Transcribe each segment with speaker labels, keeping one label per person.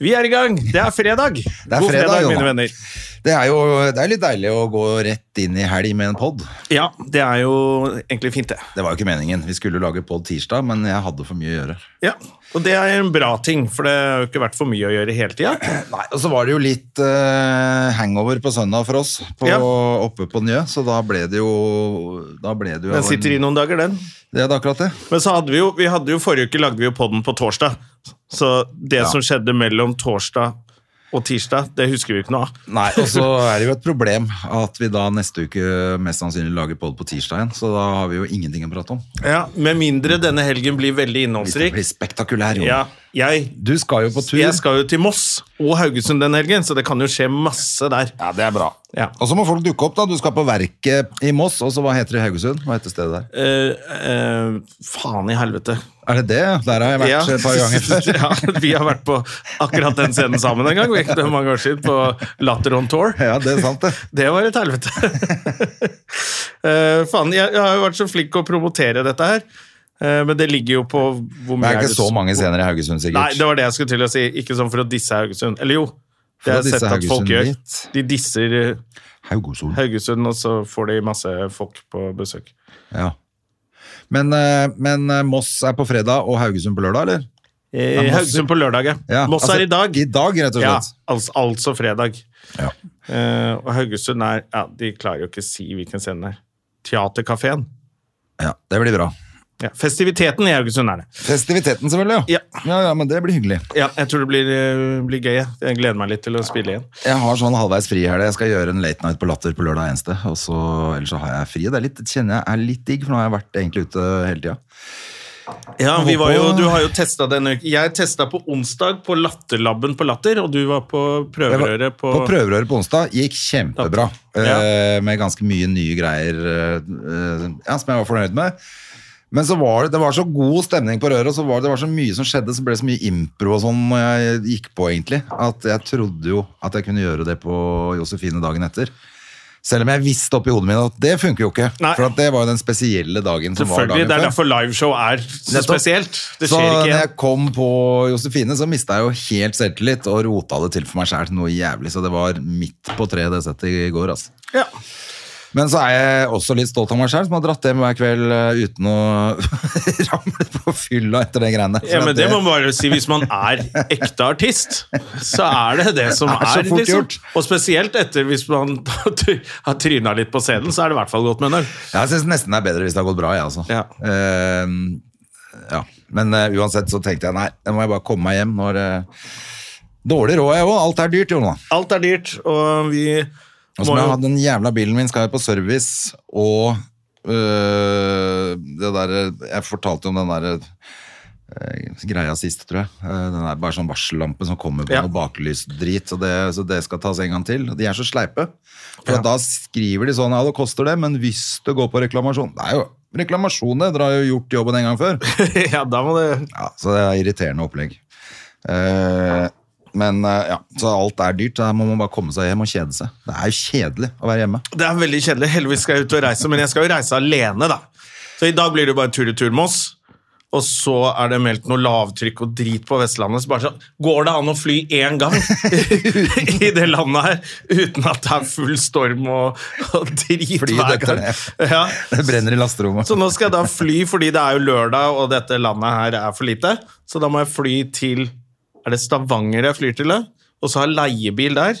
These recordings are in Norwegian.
Speaker 1: Vi er i gang! Det er fredag.
Speaker 2: er fredag,
Speaker 1: God fredag, mine
Speaker 2: Jonas.
Speaker 1: venner.
Speaker 2: Det er jo det er litt deilig å gå rett inn i helg med en pod.
Speaker 1: Ja, det er jo egentlig fint, det.
Speaker 2: Det var jo ikke meningen. Vi skulle jo lage pod tirsdag, men jeg hadde for mye å gjøre.
Speaker 1: Ja, Og det er en bra ting, for det har jo ikke vært for mye å gjøre hele tida.
Speaker 2: Nei, Og så var det jo litt eh, hangover på søndag for oss på,
Speaker 1: Ja.
Speaker 2: oppe på Njø, så da ble det jo Da ble det jo
Speaker 1: Den sitter i noen dager, den.
Speaker 2: Det er akkurat det.
Speaker 1: Men så hadde vi jo, vi hadde jo forrige uke lagde vi jo podden på torsdag. Så det
Speaker 2: Ja.
Speaker 1: som skjedde mellom torsdag og tirsdag, det husker vi jo ikke noe av.
Speaker 2: Nei, Og så er det jo et problem at vi da neste uke mest sannsynlig lager pod på tirsdag igjen, så da har vi jo ingenting å prate om.
Speaker 1: Ja, Med mindre denne helgen blir veldig
Speaker 2: Hvis det
Speaker 1: innholdsrik.
Speaker 2: blir spektakulær, jo.
Speaker 1: Ja, jeg,
Speaker 2: Du skal jo på tur.
Speaker 1: jeg skal jo til Moss og Haugesund den helgen, så det kan jo skje masse der.
Speaker 2: Ja, det er bra.
Speaker 1: Ja.
Speaker 2: Og så må folk dukke opp, da. Du skal på Verket i Moss, og så hva heter det i Haugesund? Hva heter stedet der?
Speaker 1: Eh, eh, faen i helvete.
Speaker 2: Er det det? Der har jeg vært et par ganger før.
Speaker 1: ja, vi har vært på akkurat den scenen sammen en gang. vi, Det er mange år siden På Latter on Tour.
Speaker 2: Ja, det er sant, det.
Speaker 1: Det var et helvete. Eh, faen, jeg, jeg har jo vært så flink å promotere dette her, eh, men det ligger jo på hvor mye
Speaker 2: Det er ikke så
Speaker 1: som-
Speaker 2: mange scener i Haugesund, sikkert.
Speaker 1: Nei, det var det jeg skulle til å si. Ikke sånn for å disse Haugesund. Eller jo,
Speaker 2: For å
Speaker 1: det har jeg sett
Speaker 2: disse
Speaker 1: at folk
Speaker 2: Haugesund
Speaker 1: gjør.
Speaker 2: litt.
Speaker 1: De disser eh,
Speaker 2: Haugesund.
Speaker 1: Haugesund, og så får de masse folk på besøk.
Speaker 2: Ja. Men, eh, men eh, Moss er på fredag og Haugesund på lørdag, eller?
Speaker 1: Eh,
Speaker 2: Ja, Moss-
Speaker 1: Haugesund på lørdag, ja.
Speaker 2: Ja,
Speaker 1: Moss
Speaker 2: altså,
Speaker 1: er i dag.
Speaker 2: I dag, rett og
Speaker 1: Ja,
Speaker 2: slett.
Speaker 1: altså, altså fredag.
Speaker 2: Ja.
Speaker 1: Eh, og Haugesund er ja, De klarer jo ikke å si hvilken scene det er. Teaterkafeen.
Speaker 2: Ja, det blir bra.
Speaker 1: Ja, festiviteten i Haugesund er det.
Speaker 2: Festiviteten, selvfølgelig.
Speaker 1: Ja.
Speaker 2: Ja. Ja, ja, men det blir hyggelig.
Speaker 1: Ja, jeg tror det blir, eh, blir gøy. jeg. Jeg gleder meg litt til å spille igjen.
Speaker 2: Jeg har sånn halvveis fri her. Jeg skal gjøre en late night på Latter på lørdag eneste. Og så, ellers så har jeg fri. Det er litt, kjenner jeg er litt digg, for nå har jeg vært egentlig ute hele tida.
Speaker 1: Ja,
Speaker 2: Jeg
Speaker 1: vi var jo,
Speaker 2: håper-
Speaker 1: Du har jo testa denne uken. Jeg testa på onsdag på Latterlabben på Latter, og du var på
Speaker 2: Jeg var-
Speaker 1: prøverøret på,
Speaker 2: På prøverøret på onsdag gikk kjempebra.
Speaker 1: Ja.
Speaker 2: eh, Med ganske mye nye greier eh, eh, ja, som jeg var fornøyd med. Men så var det, det var så god stemning på røret, og så var det, det var så mye som skjedde, så ble det så mye impro og sånn når jeg gikk på, egentlig, at jeg trodde jo at jeg kunne gjøre det på Josefine dagen etter. Selv om jeg visste oppi hodet mitt at det funker jo ikke.
Speaker 1: Nei.
Speaker 2: For at det var jo den spesielle dagen som var dagen
Speaker 1: Selvfølgelig. Det er
Speaker 2: før.
Speaker 1: derfor liveshow er så
Speaker 2: Nettopp.
Speaker 1: spesielt. Det
Speaker 2: så
Speaker 1: skjer ikke
Speaker 2: når
Speaker 1: igjen.
Speaker 2: jeg kom på Josefine, så mista jeg jo helt selvtillit og rota det til for meg sjæl noe jævlig. Så det var midt på treet det settet i går, altså.
Speaker 1: Ja.
Speaker 2: Men så er jeg også litt stolt av meg sjæl, som har dratt hjem hver kveld eh, uten å ramle på fylla etter de greiene.
Speaker 1: Ja,
Speaker 2: For
Speaker 1: men
Speaker 2: at
Speaker 1: det må man bare si. Hvis man er ekte artist, så er det det som
Speaker 2: Det
Speaker 1: er.
Speaker 2: er
Speaker 1: liksom.
Speaker 2: så fort gjort.
Speaker 1: Og spesielt etter hvis man har tryna litt på scenen, så er det i hvert fall godt med en øl.
Speaker 2: Jeg syns nesten det er bedre hvis det har gått bra, jeg, altså.
Speaker 1: Ja.
Speaker 2: Ehm, ja. Men eh, uansett så tenkte jeg nei, nå må jeg bare komme meg hjem når eh, Dårlig råd er jeg òg, alt er dyrt, Jona.
Speaker 1: Alt er dyrt, og vi
Speaker 2: Og så
Speaker 1: må
Speaker 2: må jeg
Speaker 1: jo
Speaker 2: ha den jævla bilen min skal jeg på service, og øh, det der Jeg fortalte jo om den der øh, greia sist, tror jeg. Eh, Den er bare sånn varsellampe som kommer på
Speaker 1: Ja.
Speaker 2: noe baklysdrit, og det, så det skal tas en gang til. Og De er så sleipe. For da skriver de sånn ja, det koster det, men hvis det går på reklamasjon Det er jo reklamasjon, det. Dere har jo gjort jobben en gang før.
Speaker 1: Ja, da må det
Speaker 2: Ja, så det er irriterende opplegg. Eh, men eh, ja, så alt er dyrt. Da må man bare komme seg hjem og kjede seg. Det er jo kjedelig å være hjemme.
Speaker 1: Det er veldig kjedelig. Heldigvis skal jeg ut og reise, men jeg skal jo reise alene, da. Så i dag blir det jo bare tur i tur med oss. Og så er det meldt noe lavtrykk og drit på Vestlandet. Så bare sånn, Går det an å fly én gang i det landet her uten at det er full storm og, og drit
Speaker 2: Fly
Speaker 1: hver
Speaker 2: detter
Speaker 1: gang?
Speaker 2: ned.
Speaker 1: Ja.
Speaker 2: Det brenner i lasterommet.
Speaker 1: Så nå skal jeg da fly, fordi det er jo lørdag, og dette landet her er for lite. Så da må jeg fly til Er det Stavanger jeg flyr til? da? Og så ha leiebil der.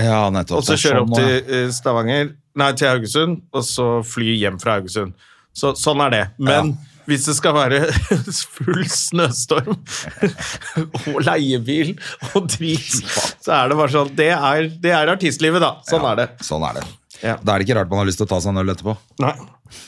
Speaker 2: ja, nettopp.
Speaker 1: Og
Speaker 2: Det
Speaker 1: så
Speaker 2: er
Speaker 1: kjøre opp
Speaker 2: sånn,
Speaker 1: til
Speaker 2: ja.
Speaker 1: eh, Stavanger, nei, til Haugesund, og så fly hjem fra Haugesund. Så, sånn er det. Men hvis det skal være full snøstorm og leiebil og drit, så er det bare sånn Det er, det er artistlivet, da. Sånn er det.
Speaker 2: Sånn er det.
Speaker 1: Ja.
Speaker 2: Da er det ikke rart man har lyst til å ta seg en øl etterpå.
Speaker 1: Nei.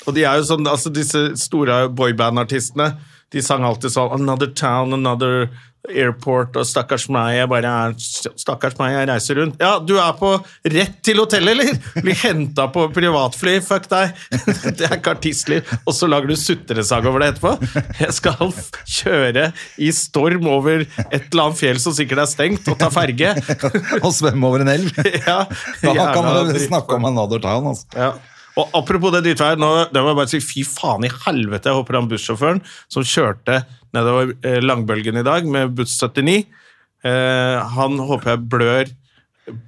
Speaker 1: Og de er jo sånn, altså disse store boyband-artistene, de sang alltid sånn Another town, another airport og stakkars meg, jeg bare er Stakkars meg, jeg reiser rundt. Ja, du er på rett til hotellet, eller? Blir henta på privatfly, fuck deg. Det er ikke artistliv. Og så lager du sutresang over det etterpå. Jeg skal f- kjøre i storm over et eller annet fjell som sikkert er stengt, og ta ferge.
Speaker 2: Og svømme over en elv.
Speaker 1: Ja,
Speaker 2: Da kan
Speaker 1: jævla
Speaker 2: man
Speaker 1: dritt.
Speaker 2: snakke om another town, altså.
Speaker 1: Ja. Og apropos det drittveiet, nå det må jeg bare si fy faen i helvete, jeg håper han bussjåføren som kjørte nedover eh, Langbølgen i dag med buss 79, eh, han håper jeg blør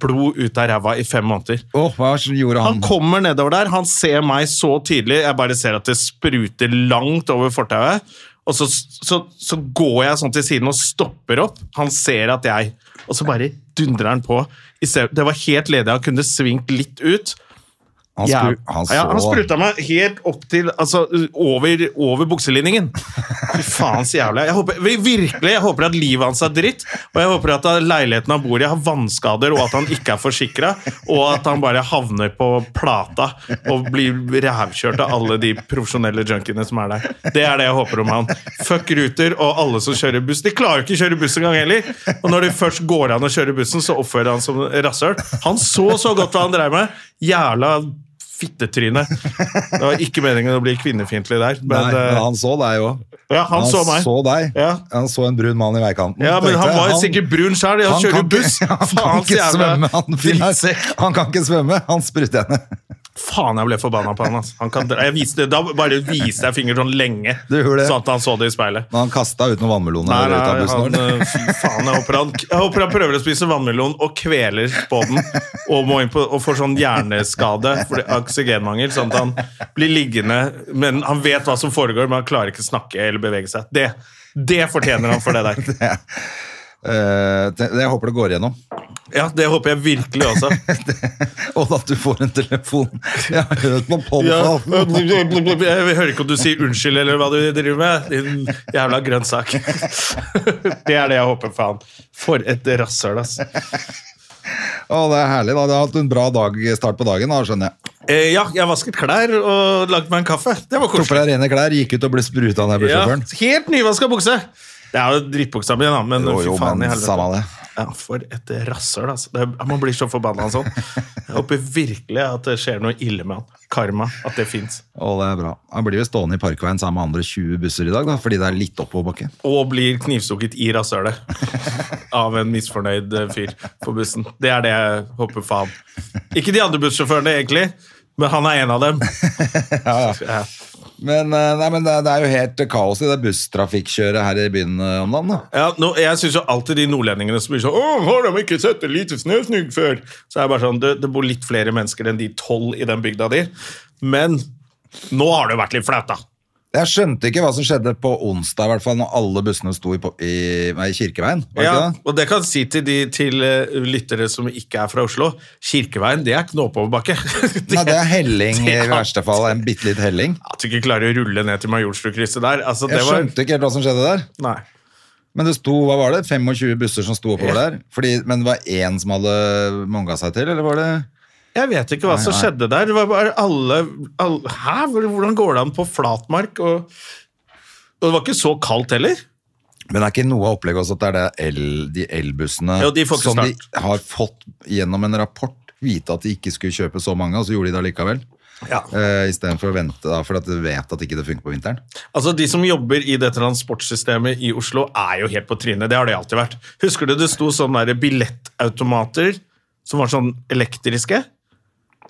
Speaker 1: blod ut av ræva i fem måneder.
Speaker 2: Åh, hva gjorde han?
Speaker 1: Han kommer nedover der, han ser meg så tydelig, jeg bare ser at det spruter langt over fortauet, og så, så, så går jeg sånn til siden og stopper opp, han ser at jeg, og så bare dundrer han på. I stedet- Det var helt ledig, han kunne svingt litt ut,
Speaker 2: Han,
Speaker 1: ja.
Speaker 2: skru, han, så,
Speaker 1: ja, han spruta meg helt opp til Altså over, over bukselinningen. Fy faen så jævlig. Jeg håper, virkelig, jeg håper at livet hans er dritt, og jeg håper at leiligheten han bor i, har vannskader, og at han ikke er forsikra, og at han bare havner på plata og blir rævkjørt av alle de profesjonelle junkiene som er der. Det er det jeg håper om han. Fuck Ruter og alle som kjører buss. De klarer jo ikke å kjøre buss engang heller. Og når det først går an å kjøre bussen, så oppfører han som rasshøl. Han så så godt hva han drev med. Jævla Fittetryne. Det var ikke meningen å bli kvinnefiendtlig der.
Speaker 2: Nei,
Speaker 1: Men, eh,
Speaker 2: men han så deg jo.
Speaker 1: ja, han, så meg.
Speaker 2: deg.
Speaker 1: Ja.
Speaker 2: Han så en brun mann i veikanten.
Speaker 1: ja, men
Speaker 2: Tenkte,
Speaker 1: han var jo sikkert brun sjøl. Han
Speaker 2: han
Speaker 1: kjører jo
Speaker 2: kan
Speaker 1: buss.
Speaker 2: ikke- Han kan
Speaker 1: Faens
Speaker 2: ikke
Speaker 1: jævla
Speaker 2: svømme, han fyren her.
Speaker 1: drittsekk.
Speaker 2: Han kan ikke svømme, han sprutter henne.
Speaker 1: Faen, jeg ble forbanna på han. ass. Han kan, dra- jeg viste, da bare viste jeg fingeren sånn lenge,
Speaker 2: Du gjorde det.
Speaker 1: sånn at han så det i speilet.
Speaker 2: Men han kasta ut noen vannmeloner
Speaker 1: Nei,
Speaker 2: eller ut av
Speaker 1: nei,
Speaker 2: bussen.
Speaker 1: han,
Speaker 2: eller?
Speaker 1: eh, fy faen, jeg håper, han, jeg håper han prøver å spise vannmelon og kveler på den og, må inn på, og får sånn hjerneskade fordi oksygenmangel, sånn at han blir liggende Men han vet hva som foregår, men han klarer ikke snakke eller bevege seg. Det, det fortjener han for det der.
Speaker 2: Eh, det- jeg håper det går igjennom.
Speaker 1: Ja, det håper jeg virkelig også.
Speaker 2: Og at du får en telefon. Jeg har hørt noe på det.
Speaker 1: Ja.
Speaker 2: Alf.
Speaker 1: Jeg hører ikke om du sier unnskyld eller hva du driver med. Din jævla grønnsak. Det er det jeg håper, faen. For et rasshøl, ass.
Speaker 2: Å, det er herlig. da. Du har hatt en bra dag, start på dagen, da, skjønner jeg.
Speaker 1: Eh, ja, jeg vasket klær og lagde meg en kaffe. Det var
Speaker 2: Tok på
Speaker 1: koselig.
Speaker 2: deg rene klær, gikk ut og ble spruta ned
Speaker 1: Ja,
Speaker 2: bussjåføren.
Speaker 1: helt nyvaska bukse! Det er jo drittbuksa mi, da, men
Speaker 2: Jo, jo,
Speaker 1: fy faen
Speaker 2: men
Speaker 1: i
Speaker 2: samme
Speaker 1: helvete.
Speaker 2: det.
Speaker 1: Ja, for et rasshøl, altså. Det, man blir så forbanna av sånn. Jeg håper virkelig at det skjer noe ille med han. Karma. At det fins.
Speaker 2: Å, det er bra. Han blir jo stående i Parkveien sammen med andre 20 busser i dag, da, fordi det er litt oppoverbakke.
Speaker 1: Og blir knivstukket i rasshølet av en misfornøyd eh, fyr på bussen. Det er det jeg håper faen. Ikke de andre bussjåførene, egentlig, men han er en av dem. Ja.
Speaker 2: Men, eh, nei, men det, det er jo helt kaos i det busstrafikkjøret her i byen eh, om dagen. da.
Speaker 1: Ja, nå, jeg syns jo alltid de nordlendingene som blir sånn 'Å, har de ikke sett et lite snøsnugg før?' Så er det bare sånn det, det bor litt flere mennesker enn de tolv i den bygda di. Men nå har det vært litt flaut, da.
Speaker 2: Jeg skjønte ikke hva som skjedde på onsdag, i hvert fall når alle bussene sto i, på- i, nei, i Kirkeveien. Var det
Speaker 1: Ja,
Speaker 2: ikke det?
Speaker 1: og det kan jeg si til, de, til eh, lyttere som ikke er fra Oslo. Kirkeveien, det er ikke noe oppoverbakke.
Speaker 2: Nei, det er helling i
Speaker 1: det er-
Speaker 2: verste fall. En bitte litt helling.
Speaker 1: At du ikke klarer å rulle ned til Majorstukrysset der. Altså, det
Speaker 2: Jeg
Speaker 1: var,
Speaker 2: skjønte ikke helt hva som skjedde der.
Speaker 1: Nei.
Speaker 2: Men det sto, hva var det? 25 busser som sto oppover der. Fordi, men det var én som hadde manga seg til, eller var det
Speaker 1: Jeg vet ikke hva som skjedde der. Det var bare alle, alle Hæ? Hvor- Hvordan går det an på flatmark? Og, og det var ikke så kaldt heller.
Speaker 2: Men det er ikke noe av opplegget også at det er det el, de elbussene
Speaker 1: Jo, de får ikke
Speaker 2: som de
Speaker 1: start.
Speaker 2: har fått gjennom en rapport vite at de ikke skulle kjøpe så mange, og så gjorde de det allikevel.
Speaker 1: Ja.
Speaker 2: Eh, Istedenfor å vente, da, for at de vet at ikke det funker på vinteren.
Speaker 1: Altså, De som jobber i det transportsystemet i Oslo, er jo helt på trynet. Det har det alltid vært. Husker du det sto sånne der billettautomater som var sånn elektriske?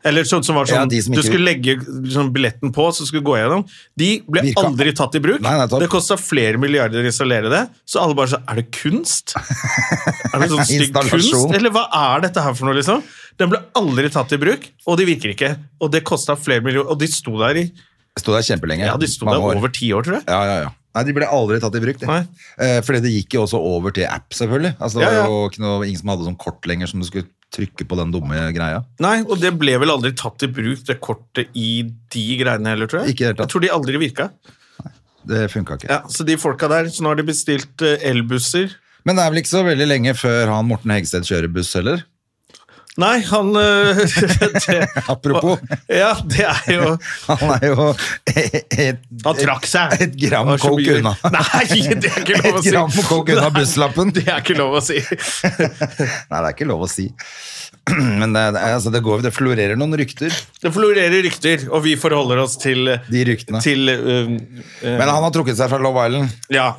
Speaker 1: Eller sånn som var
Speaker 2: Ja,
Speaker 1: sånn
Speaker 2: de som
Speaker 1: Du
Speaker 2: ikke-
Speaker 1: skulle legge sånn billetten på, så skulle du gå gjennom. De ble
Speaker 2: Virka-
Speaker 1: aldri tatt i bruk.
Speaker 2: Nei, nei, topp.
Speaker 1: det kosta flere milliarder å installere det. Så alle bare sånn Er det kunst? Er det sånn stygg kunst?
Speaker 2: Installasjon.
Speaker 1: Eller hva er dette her for noe, liksom? Den ble aldri tatt i bruk, og de virker ikke. Og det kosta flere millioner, og de sto der i
Speaker 2: Det sto der kjempelenge.
Speaker 1: Ja, de sto
Speaker 2: mange
Speaker 1: der
Speaker 2: år.
Speaker 1: over ti år, tror jeg.
Speaker 2: Ja, ja, ja. Nei, De ble aldri tatt i bruk. det.
Speaker 1: Nei.
Speaker 2: Eh, fordi det gikk jo også over til app, selvfølgelig. Altså, det
Speaker 1: Ja, ja.
Speaker 2: var jo ikke noe, Ingen som hadde sånn kort lenger som du skulle trykke på den dumme greia.
Speaker 1: Nei, og det ble vel aldri tatt i bruk, det kortet i de greiene heller, tror jeg.
Speaker 2: Ikke i det hele tatt.
Speaker 1: Jeg tror de aldri virka.
Speaker 2: Det funka ikke.
Speaker 1: Ja, så de folka der, så nå har de bestilt eh, elbusser.
Speaker 2: Men det er vel ikke så veldig lenge før han Morten Hegseth kjører buss heller?
Speaker 1: Nei, han øh, det,
Speaker 2: Apropos.
Speaker 1: Ja, det er jo
Speaker 2: Han er jo et, et,
Speaker 1: Han trakk seg.
Speaker 2: et gram
Speaker 1: Det var så
Speaker 2: coke
Speaker 1: mye-
Speaker 2: unna.
Speaker 1: Nei, det er ikke lov å
Speaker 2: Et
Speaker 1: si.
Speaker 2: gram coke unna
Speaker 1: Nei,
Speaker 2: busslappen.
Speaker 1: Det er ikke lov å si.
Speaker 2: Nei, det er ikke lov å si. Men det, det, er- altså, det, går, det florerer noen rykter.
Speaker 1: Det florerer rykter, og vi forholder oss til
Speaker 2: De ryktene.
Speaker 1: Til øh, øh,
Speaker 2: Men han har trukket seg fra Love Island.
Speaker 1: Ja.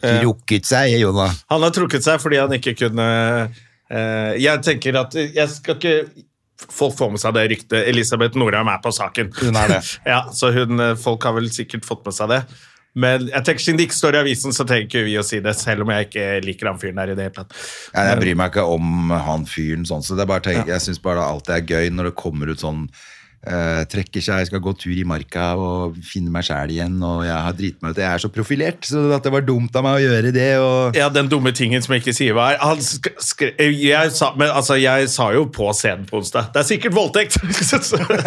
Speaker 1: Eh.
Speaker 2: Trukket seg, Jonah.
Speaker 1: Han har trukket seg fordi han ikke kunne eh, Jeg tenker at jeg skal ikke Folk får med seg det ryktet. Elisabeth Norheim er på saken.
Speaker 2: Hun er det.
Speaker 1: ja, så hun, eh, folk har vel sikkert fått med seg det. Men jeg tenker siden det ikke står i avisen, så trenger ikke vi å si det, selv om jeg ikke liker han fyren der i det hele tatt.
Speaker 2: Ja, jeg bryr meg ikke om han fyren sånn, så det er bare tenk, jeg syns bare alltid er gøy når det kommer ut sånn eh, trekker seg, skal gå tur i marka og finne meg sjæl igjen, og jeg har driti meg ut. Jeg er så profilert, så at det var dumt av meg å gjøre det. Og...
Speaker 1: Ja, den dumme tingen som jeg ikke sier hva er han sk skre jeg, sa, men, altså, jeg sa jo på scenen på onsdag Det er sikkert voldtekt!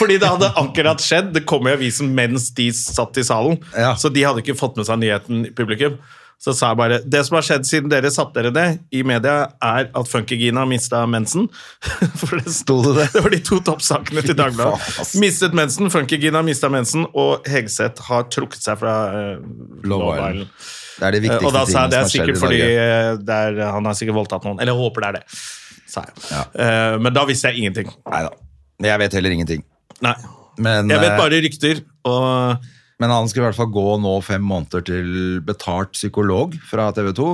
Speaker 1: Fordi det hadde akkurat skjedd. Det kom i avisen mens de satt i salen.
Speaker 2: Ja.
Speaker 1: Så de hadde ikke fått med seg nyheten i publikum. Så sa jeg bare Det som har skjedd siden dere satte dere ned i media, er at Funkygina mista mensen. For det sto
Speaker 2: Sto det det?
Speaker 1: det var de to toppsakene til Dagbladet.
Speaker 2: faen, ass.
Speaker 1: Mistet mensen, Funkygina mista mensen, og Hegseth har trukket seg fra eh, Love
Speaker 2: Island.
Speaker 1: Island.
Speaker 2: Det er det
Speaker 1: Eh,
Speaker 2: viktigste
Speaker 1: Og da sa jeg det
Speaker 2: tingene som har
Speaker 1: er
Speaker 2: skjedd
Speaker 1: sikkert
Speaker 2: i
Speaker 1: fordi
Speaker 2: Norge.
Speaker 1: eh, det er, han har sikkert voldtatt noen. Eller jeg håper det er det. Sa jeg. Eh, Men da visste jeg ingenting.
Speaker 2: Neida. Jeg vet heller ingenting.
Speaker 1: Nei.
Speaker 2: Men,
Speaker 1: Jeg vet
Speaker 2: eh,
Speaker 1: bare rykter. Og
Speaker 2: men han skulle i hvert fall gå nå fem måneder til betalt psykolog fra TV 2.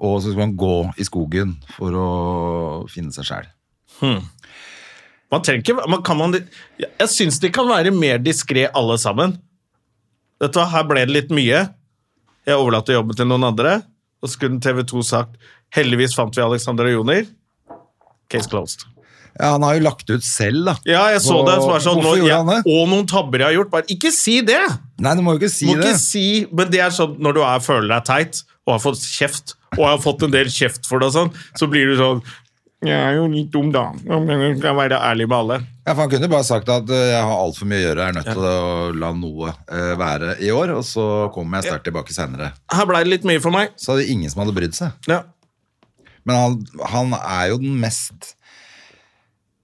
Speaker 2: Og så skulle han gå i skogen for å finne seg sjæl.
Speaker 1: man trenger ikke man kan man, Jeg syns de kan være mer diskré alle sammen. Vet du hva, her ble det litt mye. Jeg overlater jobben til noen andre. Og så kunne TV 2 sagt heldigvis fant vi Alexander og Joner. Case closed.
Speaker 2: Ja, han har jo lagt ut selv, da.
Speaker 1: Ja, jeg så
Speaker 2: Og-
Speaker 1: det. Så var det sånn,
Speaker 2: Hvorfor
Speaker 1: nå,
Speaker 2: gjorde
Speaker 1: jeg,
Speaker 2: han det?
Speaker 1: og noen tabber jeg har gjort. Bare ikke si det!
Speaker 2: Nei, du må jo ikke si
Speaker 1: Må
Speaker 2: det.
Speaker 1: ikke si, men det er sånn når du er, føler deg teit og har fått kjeft, og har fått en del kjeft for det og sånn, så blir du sånn Jeg er jo litt dum, da. Ja, Men jeg kan være ærlig med alle.
Speaker 2: Ja, for Han kunne bare sagt at eh, jeg har altfor mye å gjøre, jeg er nødt til å la noe eh, være i år, og så kommer jeg sterkt tilbake senere.
Speaker 1: Her blei det litt mye for meg.
Speaker 2: Så hadde ingen som hadde brydd seg.
Speaker 1: Ja.
Speaker 2: Men han, han er jo den mest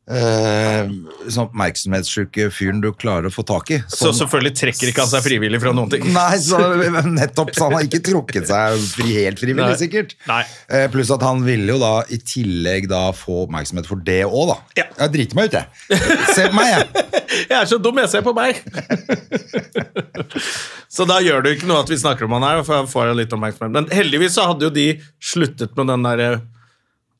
Speaker 2: eh, sånn oppmerksomhetssjuke fyren du klarer å få tak i.
Speaker 1: Så
Speaker 2: Sånn-
Speaker 1: selvfølgelig trekker ikke han seg frivillig fra noen ting.
Speaker 2: Nei, så nettopp, så han har ikke trukket seg fri, helt frivillig,
Speaker 1: Nei.
Speaker 2: sikkert.
Speaker 1: Nei.
Speaker 2: Eh, Pluss at han ville jo da i tillegg da få oppmerksomhet for det òg, da.
Speaker 1: Ja.
Speaker 2: Jeg driter meg ut, jeg. Se på meg, jeg.
Speaker 1: Jeg er så dum, jeg ser på meg! så da gjør det jo ikke noe at vi snakker om han her, for jeg får jo litt oppmerksomhet. Men heldigvis så hadde jo de sluttet med den derre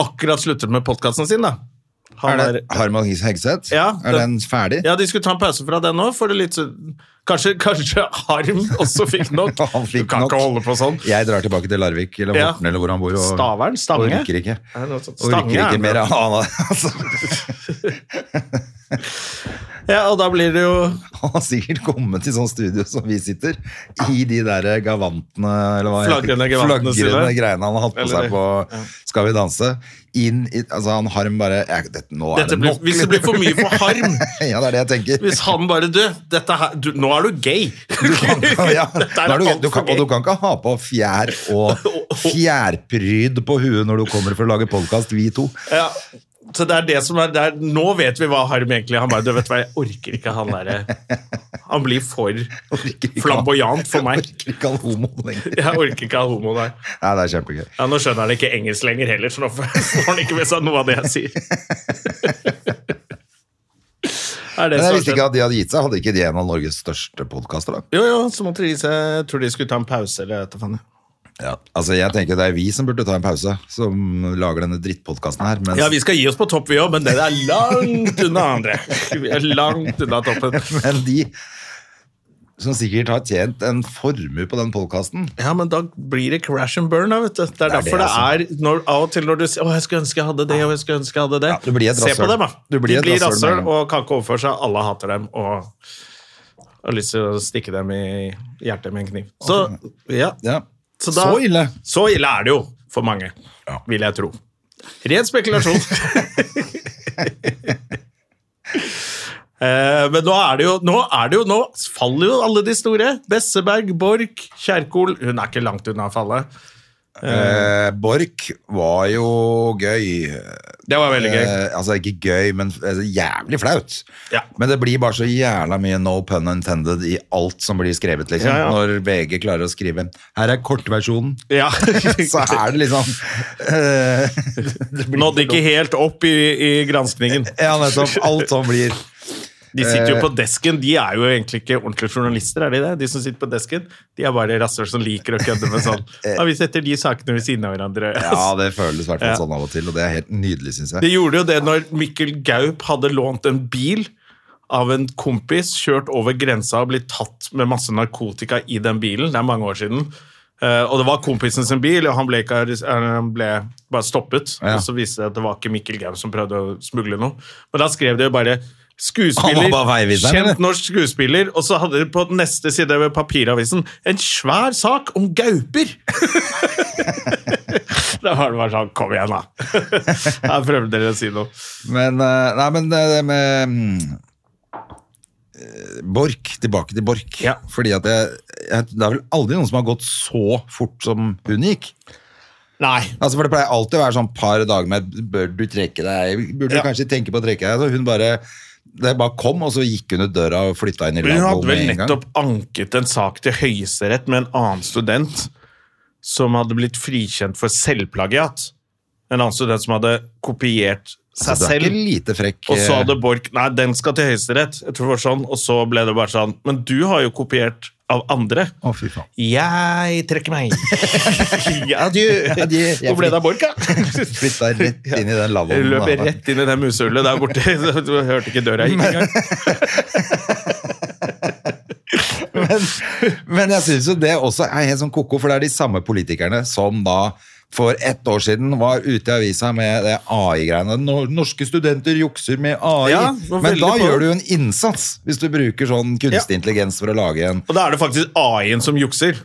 Speaker 1: Akkurat sluttet med podkasten sin, da. Han
Speaker 2: Er det
Speaker 1: er-
Speaker 2: Harman Hegseth?
Speaker 1: Ja,
Speaker 2: er den ferdig?
Speaker 1: Ja, de skulle ta en pause fra den nå, for det litt så- Kanskje, kanskje Harm også fikk nok.
Speaker 2: Han fikk
Speaker 1: du kan
Speaker 2: nok.
Speaker 1: ikke holde på sånn.
Speaker 2: Jeg drar tilbake til Larvik eller
Speaker 1: Ja.
Speaker 2: Morten eller hvor han bor. Og,
Speaker 1: Stavern? Stange?
Speaker 2: Og rykker ikke.
Speaker 1: Nei, det er sånn-
Speaker 2: Og rykker
Speaker 1: Stange er
Speaker 2: ikke
Speaker 1: det.
Speaker 2: mer av han. Altså,
Speaker 1: Ja, og da blir det jo
Speaker 2: han har sikkert kommet til sånn studio som vi sitter, i de der gavantene eller hva heter det?
Speaker 1: Flagrende gavantene sine.
Speaker 2: Flagrende greiene han har hatt på
Speaker 1: Eller det.
Speaker 2: seg på Skal vi danse. Inn i Altså, han Harm bare jeg, dette, Nå er
Speaker 1: dette
Speaker 2: det
Speaker 1: blir,
Speaker 2: nok.
Speaker 1: Hvis det blir for mye for Harm
Speaker 2: ja, det er det jeg tenker.
Speaker 1: Hvis han bare Du, dette her, du nå er du gay!
Speaker 2: ja.
Speaker 1: Dette
Speaker 2: Nå er du,
Speaker 1: alt
Speaker 2: du
Speaker 1: for
Speaker 2: kan, og du kan ikke ha på fjær og fjærpryd på huet når du kommer for å lage podkast, vi to.
Speaker 1: Ja. Så det er det som er, det er Nå vet vi hva Harm egentlig Han bare, du vet hva, jeg orker ikke han derre Han blir for
Speaker 2: Orker ikke han.
Speaker 1: flamboyant for meg.
Speaker 2: Orker ikke han homoen lenger.
Speaker 1: Jeg orker ikke ha homo der.
Speaker 2: Nei, det er kjempegøy.
Speaker 1: Ja, Nå skjønner han ikke engelsk lenger heller, så nå får får han ikke med seg noe av det jeg sier. er
Speaker 2: Men jeg
Speaker 1: det som har
Speaker 2: visste
Speaker 1: skjedd?
Speaker 2: ikke at de hadde gitt seg. Hadde ikke de en av Norges største podkaster, da?
Speaker 1: Jo, jo, så måtte de se Jeg tror de skulle ta en pause eller et eller annet.
Speaker 2: Altså, jeg tenker det er vi som burde ta en pause, som lager denne drittpodkasten her. Mens,
Speaker 1: Ja, vi skal gi oss på topp, vi òg, men det er langt unna andre. Vi er langt unna toppen.
Speaker 2: Men de som sikkert har tjent en formue på den podkasten
Speaker 1: Ja, men da blir det crash and burn, da, vet du. Det er, derfor det,
Speaker 2: altså.
Speaker 1: er når, Av og til når du sier 'Å, jeg skulle ønske jeg hadde det', og 'jeg skulle ønske jeg hadde det',
Speaker 2: Ja, du blir et
Speaker 1: se på
Speaker 2: rasshøl.
Speaker 1: dem, da.
Speaker 2: Du blir
Speaker 1: de
Speaker 2: et
Speaker 1: blir
Speaker 2: rasshøl med
Speaker 1: rasshøl
Speaker 2: en gang.
Speaker 1: og kan ikke overføre seg. Alle hater dem og har lyst til å stikke dem i hjertet med en kniv. Så ja.
Speaker 2: ja.
Speaker 1: Så
Speaker 2: så,
Speaker 1: da-
Speaker 2: ille!
Speaker 1: Så ille er det jo for mange,
Speaker 2: Ja.
Speaker 1: vil jeg tro. Ren spekulasjon. Eh, Men nå er, det jo, nå er det jo Nå faller jo alle de store. Besseberg, Borch, Kjerkol Hun er ikke langt unna å falle.
Speaker 2: Eh, Borch var jo gøy.
Speaker 1: Det var veldig gøy.
Speaker 2: Eh, altså ikke gøy, men eh, jævlig flaut.
Speaker 1: Ja.
Speaker 2: Men det blir bare så jævla mye no pun intended i alt som blir skrevet, liksom.
Speaker 1: Ja, ja.
Speaker 2: Når VG klarer å skrive 'her er kortversjonen',
Speaker 1: Ja.
Speaker 2: så er det liksom eh, det blir
Speaker 1: Nådde ikke helt opp i, i granskningen.
Speaker 2: Ja, nettopp. Alt som blir
Speaker 1: De sitter
Speaker 2: Eh.
Speaker 1: jo på desken. De er jo egentlig ikke ordentlige journalister, er de det? De som sitter på desken, de er bare rasshøl som liker å kødde med sånn. Ja, vi setter de sakene ved siden av hverandre.
Speaker 2: Eh. Ja, det føles i hvert fall
Speaker 1: Ja.
Speaker 2: sånn av og til, og det er helt nydelig, syns
Speaker 1: Det
Speaker 2: jeg.
Speaker 1: gjorde jo det når Mikkel Gaup hadde lånt en bil av en kompis, kjørt over grensa og blitt tatt med masse narkotika i den bilen. Det er mange år siden. Eh, og det var kompisen sin bil, og han ble, ikke, arres- eh, han ble bare stoppet.
Speaker 2: Ja.
Speaker 1: Og så viste det at det var ikke Mikkel Gaup som prøvde å smugle noe. Men da skrev de jo bare
Speaker 2: Han
Speaker 1: Skuespiller,
Speaker 2: var bare veiviseren, eller?
Speaker 1: kjent norsk skuespiller, og så hadde de på neste side ved papiravisen en svær sak om gauper! da var det bare sånn Kom igjen, da! Her prøvde dere å si noe.
Speaker 2: Men, eh, nei, men eh, det med mm, eh, Borch, tilbake til Borch.
Speaker 1: Ja.
Speaker 2: Fordi at jeg, jeg, Det er vel aldri noen som har gått så fort som hun gikk.
Speaker 1: Nei.
Speaker 2: Altså, for Det pleier alltid å være sånn par dager med Bør du trekke deg? Burde du
Speaker 1: Ja.
Speaker 2: kanskje tenke på å trekke deg? Så hun bare det bare kom, og så gikk hun ut døra og flytta inn i
Speaker 1: Men hun hadde
Speaker 2: lavvoen
Speaker 1: vel
Speaker 2: med en gang.
Speaker 1: nettopp anket en sak til Høyesterett med en annen student som hadde blitt frikjent for selvplagiat. En annen student som hadde kopiert seg
Speaker 2: Altså, du er
Speaker 1: selv.
Speaker 2: ikke lite frekk.
Speaker 1: Og så
Speaker 2: eh,
Speaker 1: hadde Borch Nei, den skal til Høyesterett. Jeg tror det var sånn. Og så ble det bare sånn Men du har jo kopiert av andre.
Speaker 2: Å, fy faen.
Speaker 1: Jeg trekker meg. Adjø.
Speaker 2: Adjø.
Speaker 1: Hvor ble det av Borch, da?
Speaker 2: Flytta rett inn i den
Speaker 1: Jeg
Speaker 2: lavvoen.
Speaker 1: løp
Speaker 2: da.
Speaker 1: rett inn i det musehullet der borte. Du hørte ikke døra gikk engang.
Speaker 2: Men, men jeg synes jo det også er helt sånn koko, for det er de samme politikerne som da for ett år siden var ute i avisa med det AI-greiene. Nor- Norske studenter jukser med AI.
Speaker 1: Ja, det var
Speaker 2: men
Speaker 1: veldig
Speaker 2: da
Speaker 1: på.
Speaker 2: gjør du jo en innsats, hvis du bruker sånn kunstig
Speaker 1: Ja.
Speaker 2: intelligens for å lage en
Speaker 1: Og da er det faktisk AI-en som jukser.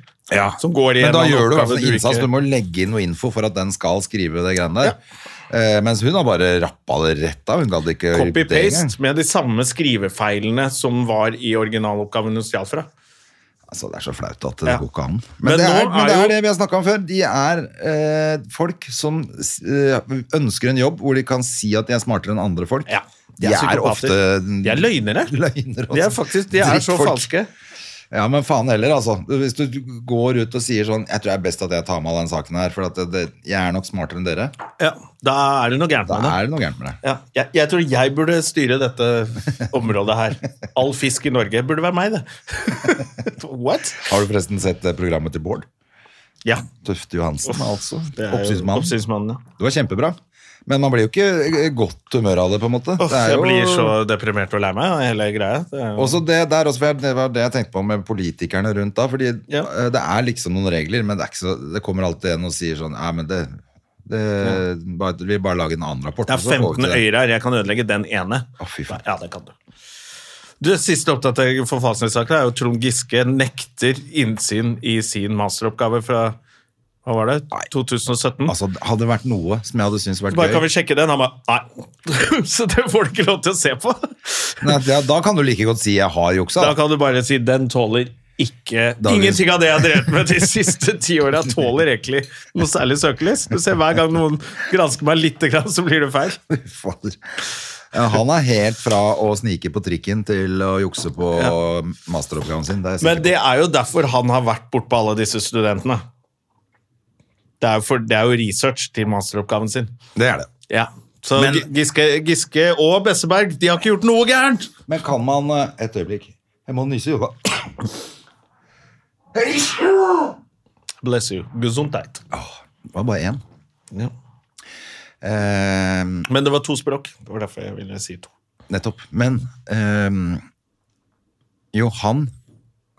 Speaker 1: Som går i
Speaker 2: Men
Speaker 1: en
Speaker 2: da
Speaker 1: annen
Speaker 2: gjør du i hvert
Speaker 1: oppgave
Speaker 2: fall en innsats.
Speaker 1: ikke-
Speaker 2: Du må legge inn noe info for at den skal skrive det greiene der. Eh, mens hun har bare rappa det rett av. Hun gadd ikke å gjøre det engang.
Speaker 1: Copy-paste med de samme skrivefeilene som var i originaloppgaven hun stjal fra.
Speaker 2: Altså, det er så flaut at det
Speaker 1: Ja.
Speaker 2: går ikke an. Men,
Speaker 1: Men
Speaker 2: det,
Speaker 1: nå
Speaker 2: er, men det
Speaker 1: er jo-
Speaker 2: er det vi har snakka om før. De er eh, folk som s- eh, ønsker en jobb hvor de kan si at de er smartere enn andre folk.
Speaker 1: Ja.
Speaker 2: De, er, ofte
Speaker 1: psykopater. De er løgnere.
Speaker 2: løgner og
Speaker 1: De er faktisk, de er så
Speaker 2: drittfolk.
Speaker 1: falske.
Speaker 2: Ja, men faen heller, altså. Hvis du går ut og sier sånn Jeg tror det er best at jeg tar med all den saken her, for at det, det, jeg er nok smartere enn dere.
Speaker 1: Ja, da er det noe gærent
Speaker 2: Da
Speaker 1: med det.
Speaker 2: er det noe gærent med det.
Speaker 1: Ja, jeg, jeg tror jeg burde styre dette området her. All fisk i Norge burde være meg, det. What?
Speaker 2: Har du forresten sett det programmet til Bård?
Speaker 1: Ja.
Speaker 2: Tøfte Johansen, altså.
Speaker 1: det er jo
Speaker 2: Oppsynsmannen.
Speaker 1: Oppsynsmannen, ja.
Speaker 2: Det var kjempebra. Men man blir jo ikke i godt humør av det, på en måte.
Speaker 1: Åh,
Speaker 2: Det er
Speaker 1: Jeg
Speaker 2: jo-
Speaker 1: blir så deprimert og lei meg av hele greia. Det er jo-
Speaker 2: Også det, der også, for jeg- det var det jeg tenkte på med politikerne rundt da. Fordi
Speaker 1: Ja.
Speaker 2: eh, det er liksom noen regler, men det, er ikke så, det kommer alltid en og sier sånn Nei, men det, det bare, Vi bare lager en annen rapport.
Speaker 1: Det
Speaker 2: og
Speaker 1: er
Speaker 2: så får vi
Speaker 1: 15
Speaker 2: til det.»
Speaker 1: øyre her, jeg kan ødelegge den ene.
Speaker 2: Å, fy faen.
Speaker 1: Ja, det kan du. Du, Siste oppdatering for Falsnes-saken er jo Trond Giske nekter innsyn i sin masteroppgave fra hva var det? 2017.
Speaker 2: Altså, hadde det vært noe som jeg hadde syntes vært
Speaker 1: bare kan
Speaker 2: gøy
Speaker 1: vi sjekke den? Han bare nei. Så det får du ikke lov til å se på.
Speaker 2: Nei, ja, Da kan du like godt si 'jeg har juksa'.
Speaker 1: Da kan du bare si den tåler ikke
Speaker 2: Dagens-
Speaker 1: Ingenting av det jeg har drevet med de siste ti åra, tåler egentlig noe særlig søkelys. Du ser hver gang noen gransker meg lite grann, så blir det feil.
Speaker 2: Fader. Ja, Han er helt fra å snike på trikken til å jukse på masteroppgaven sin. Det er jeg
Speaker 1: Men
Speaker 2: sikker
Speaker 1: det er jo derfor han har vært bortpå alle disse studentene. Det er, jo for, det er jo research til masteroppgaven sin.
Speaker 2: på. det er det.
Speaker 1: Ja. Så
Speaker 2: Men-
Speaker 1: Gi- Giske, Giske og Besseberg de har ikke gjort noe gærent!
Speaker 2: Men kan man eh, Et øyeblikk. Jeg må nyse i hodet.
Speaker 1: Bless you. Gesundheit.
Speaker 2: Det var bare én.
Speaker 1: Ja.
Speaker 2: Eh,
Speaker 1: Men det var to språk. Det var derfor jeg ville si to.
Speaker 2: Nettopp. Men ehm, jo, han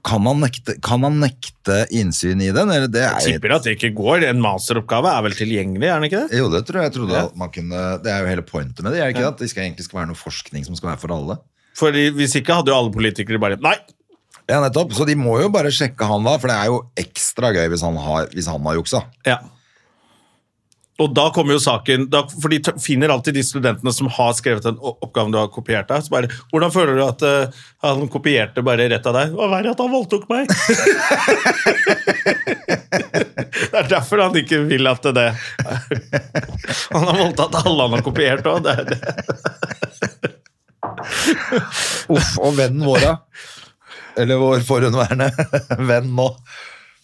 Speaker 2: kan han, nekte, kan han nekte innsyn i den? Eller det er jo-
Speaker 1: Tipper at det ikke går. En masteroppgave er vel tilgjengelig, er den ikke det?
Speaker 2: jo, det tror jeg. jeg trodde
Speaker 1: Ja.
Speaker 2: at man kunne, det er jo hele pointet med det. Er det ikke det? At det skal, egentlig skal være noe forskning som skal være for alle.
Speaker 1: Fordi Hvis ikke hadde jo alle politikere bare Nei!
Speaker 2: Ja, nettopp. Så de må jo bare sjekke han da, for det er jo ekstra gøy hvis han har, hvis han har juksa.
Speaker 1: Ja. Og da kommer jo saken, da, for de t- finner alltid de studentene som har skrevet den o- oppgaven du har kopiert deg. Så bare, hvordan føler du at eh, han kopierte bare rett av deg? Det var verre at han voldtok meg! det er derfor han ikke vil at det Han har voldtatt alle han har kopiert òg. Det, er det.
Speaker 2: Uff, og vennen vår, ja. Eller vår forhenværende venn nå.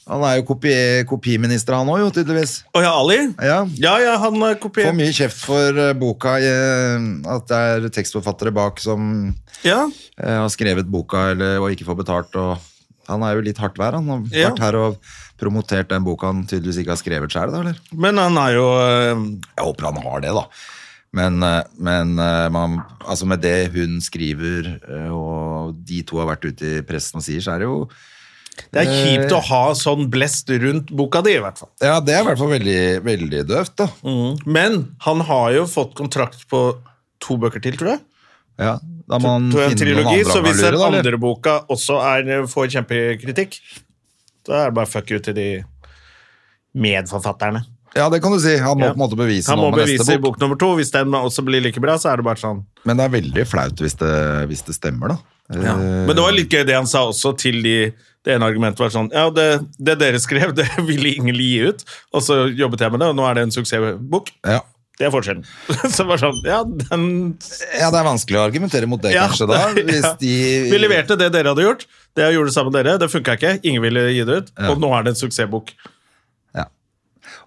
Speaker 2: Han er jo kopi, kopiminister, han òg, jo, tydeligvis.
Speaker 1: Å ja, Ali?
Speaker 2: Ja.
Speaker 1: ja, ja, han har
Speaker 2: Får
Speaker 1: kopiert.
Speaker 2: mye kjeft for eh, boka, eh, at det er tekstforfattere bak som
Speaker 1: Ja.
Speaker 2: eh, har skrevet boka eller, og ikke får betalt. Og han er jo litt hardt vær. Han har
Speaker 1: Ja.
Speaker 2: vært her og promotert den boka han tydeligvis ikke har skrevet sjøl, da, eller?
Speaker 1: Men han er jo eh,
Speaker 2: Jeg håper han har det, da. Men, eh, men eh, man, altså med det hun skriver, eh, og de to har vært ute i pressen og sier, så er det jo
Speaker 1: Det
Speaker 2: Eh.
Speaker 1: er kjipt å ha sånn blest rundt boka di, i hvert fall.
Speaker 2: Ja, det er i hvert fall veldig, veldig døvt, da.
Speaker 1: Men han har jo fått kontrakt på to bøker til, tror jeg.
Speaker 2: Ja, da må han
Speaker 1: Tror jeg en
Speaker 2: finne noen
Speaker 1: trilogi,
Speaker 2: andre
Speaker 1: Så
Speaker 2: han
Speaker 1: hvis
Speaker 2: har lure,
Speaker 1: den
Speaker 2: da. Eller?
Speaker 1: andre boka også er, får kjempekritikk, da er det bare fuck you til de medforfatterne.
Speaker 2: Ja, det kan du si. Han må
Speaker 1: Ja.
Speaker 2: på en måte bevise
Speaker 1: Han må
Speaker 2: noe med
Speaker 1: bevise
Speaker 2: neste
Speaker 1: i
Speaker 2: bok.
Speaker 1: bok nummer to. Hvis den også blir like bra, så er det bare sånn.
Speaker 2: Men det er veldig flaut hvis det, hvis det stemmer, da.
Speaker 1: Ja.
Speaker 2: Eh,
Speaker 1: Men det var litt gøy det han sa også til de Det ene argumentet var sånn Ja, det, det dere skrev, det ville ingen gi ut, og så jobbet jeg med det, og nå er det en suksessbok.
Speaker 2: ja.
Speaker 1: Det er forskjellen. Så det var sånn Ja, den
Speaker 2: ja, det er vanskelig å argumentere mot det,
Speaker 1: Ja,
Speaker 2: kanskje, da.
Speaker 1: det-
Speaker 2: Hvis
Speaker 1: ja.
Speaker 2: de
Speaker 1: Vi leverte det dere hadde gjort. Det jeg gjorde sammen med dere, det funka ikke. Ingen ville gi det ut.
Speaker 2: Ja.
Speaker 1: Og nå er det en suksessbok.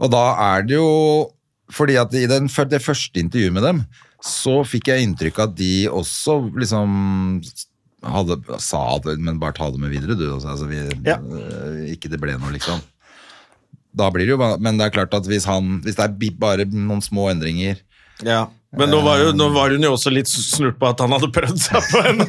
Speaker 2: Og da er det jo Fordi at i den, for det første intervjuet med dem, så fikk jeg inntrykk av at de også liksom hadde, sa det, men bare ta det med videre, du. Altså, altså, vi,
Speaker 1: Ja.
Speaker 2: øh, ikke det ble noe, liksom. Da blir det jo, ba- men det er klart at hvis, han, hvis det er bi- bare noen små endringer
Speaker 1: Men
Speaker 2: Eh.
Speaker 1: nå var, jo, nå var hun jo også litt snurt på at han hadde prøvd seg på henne.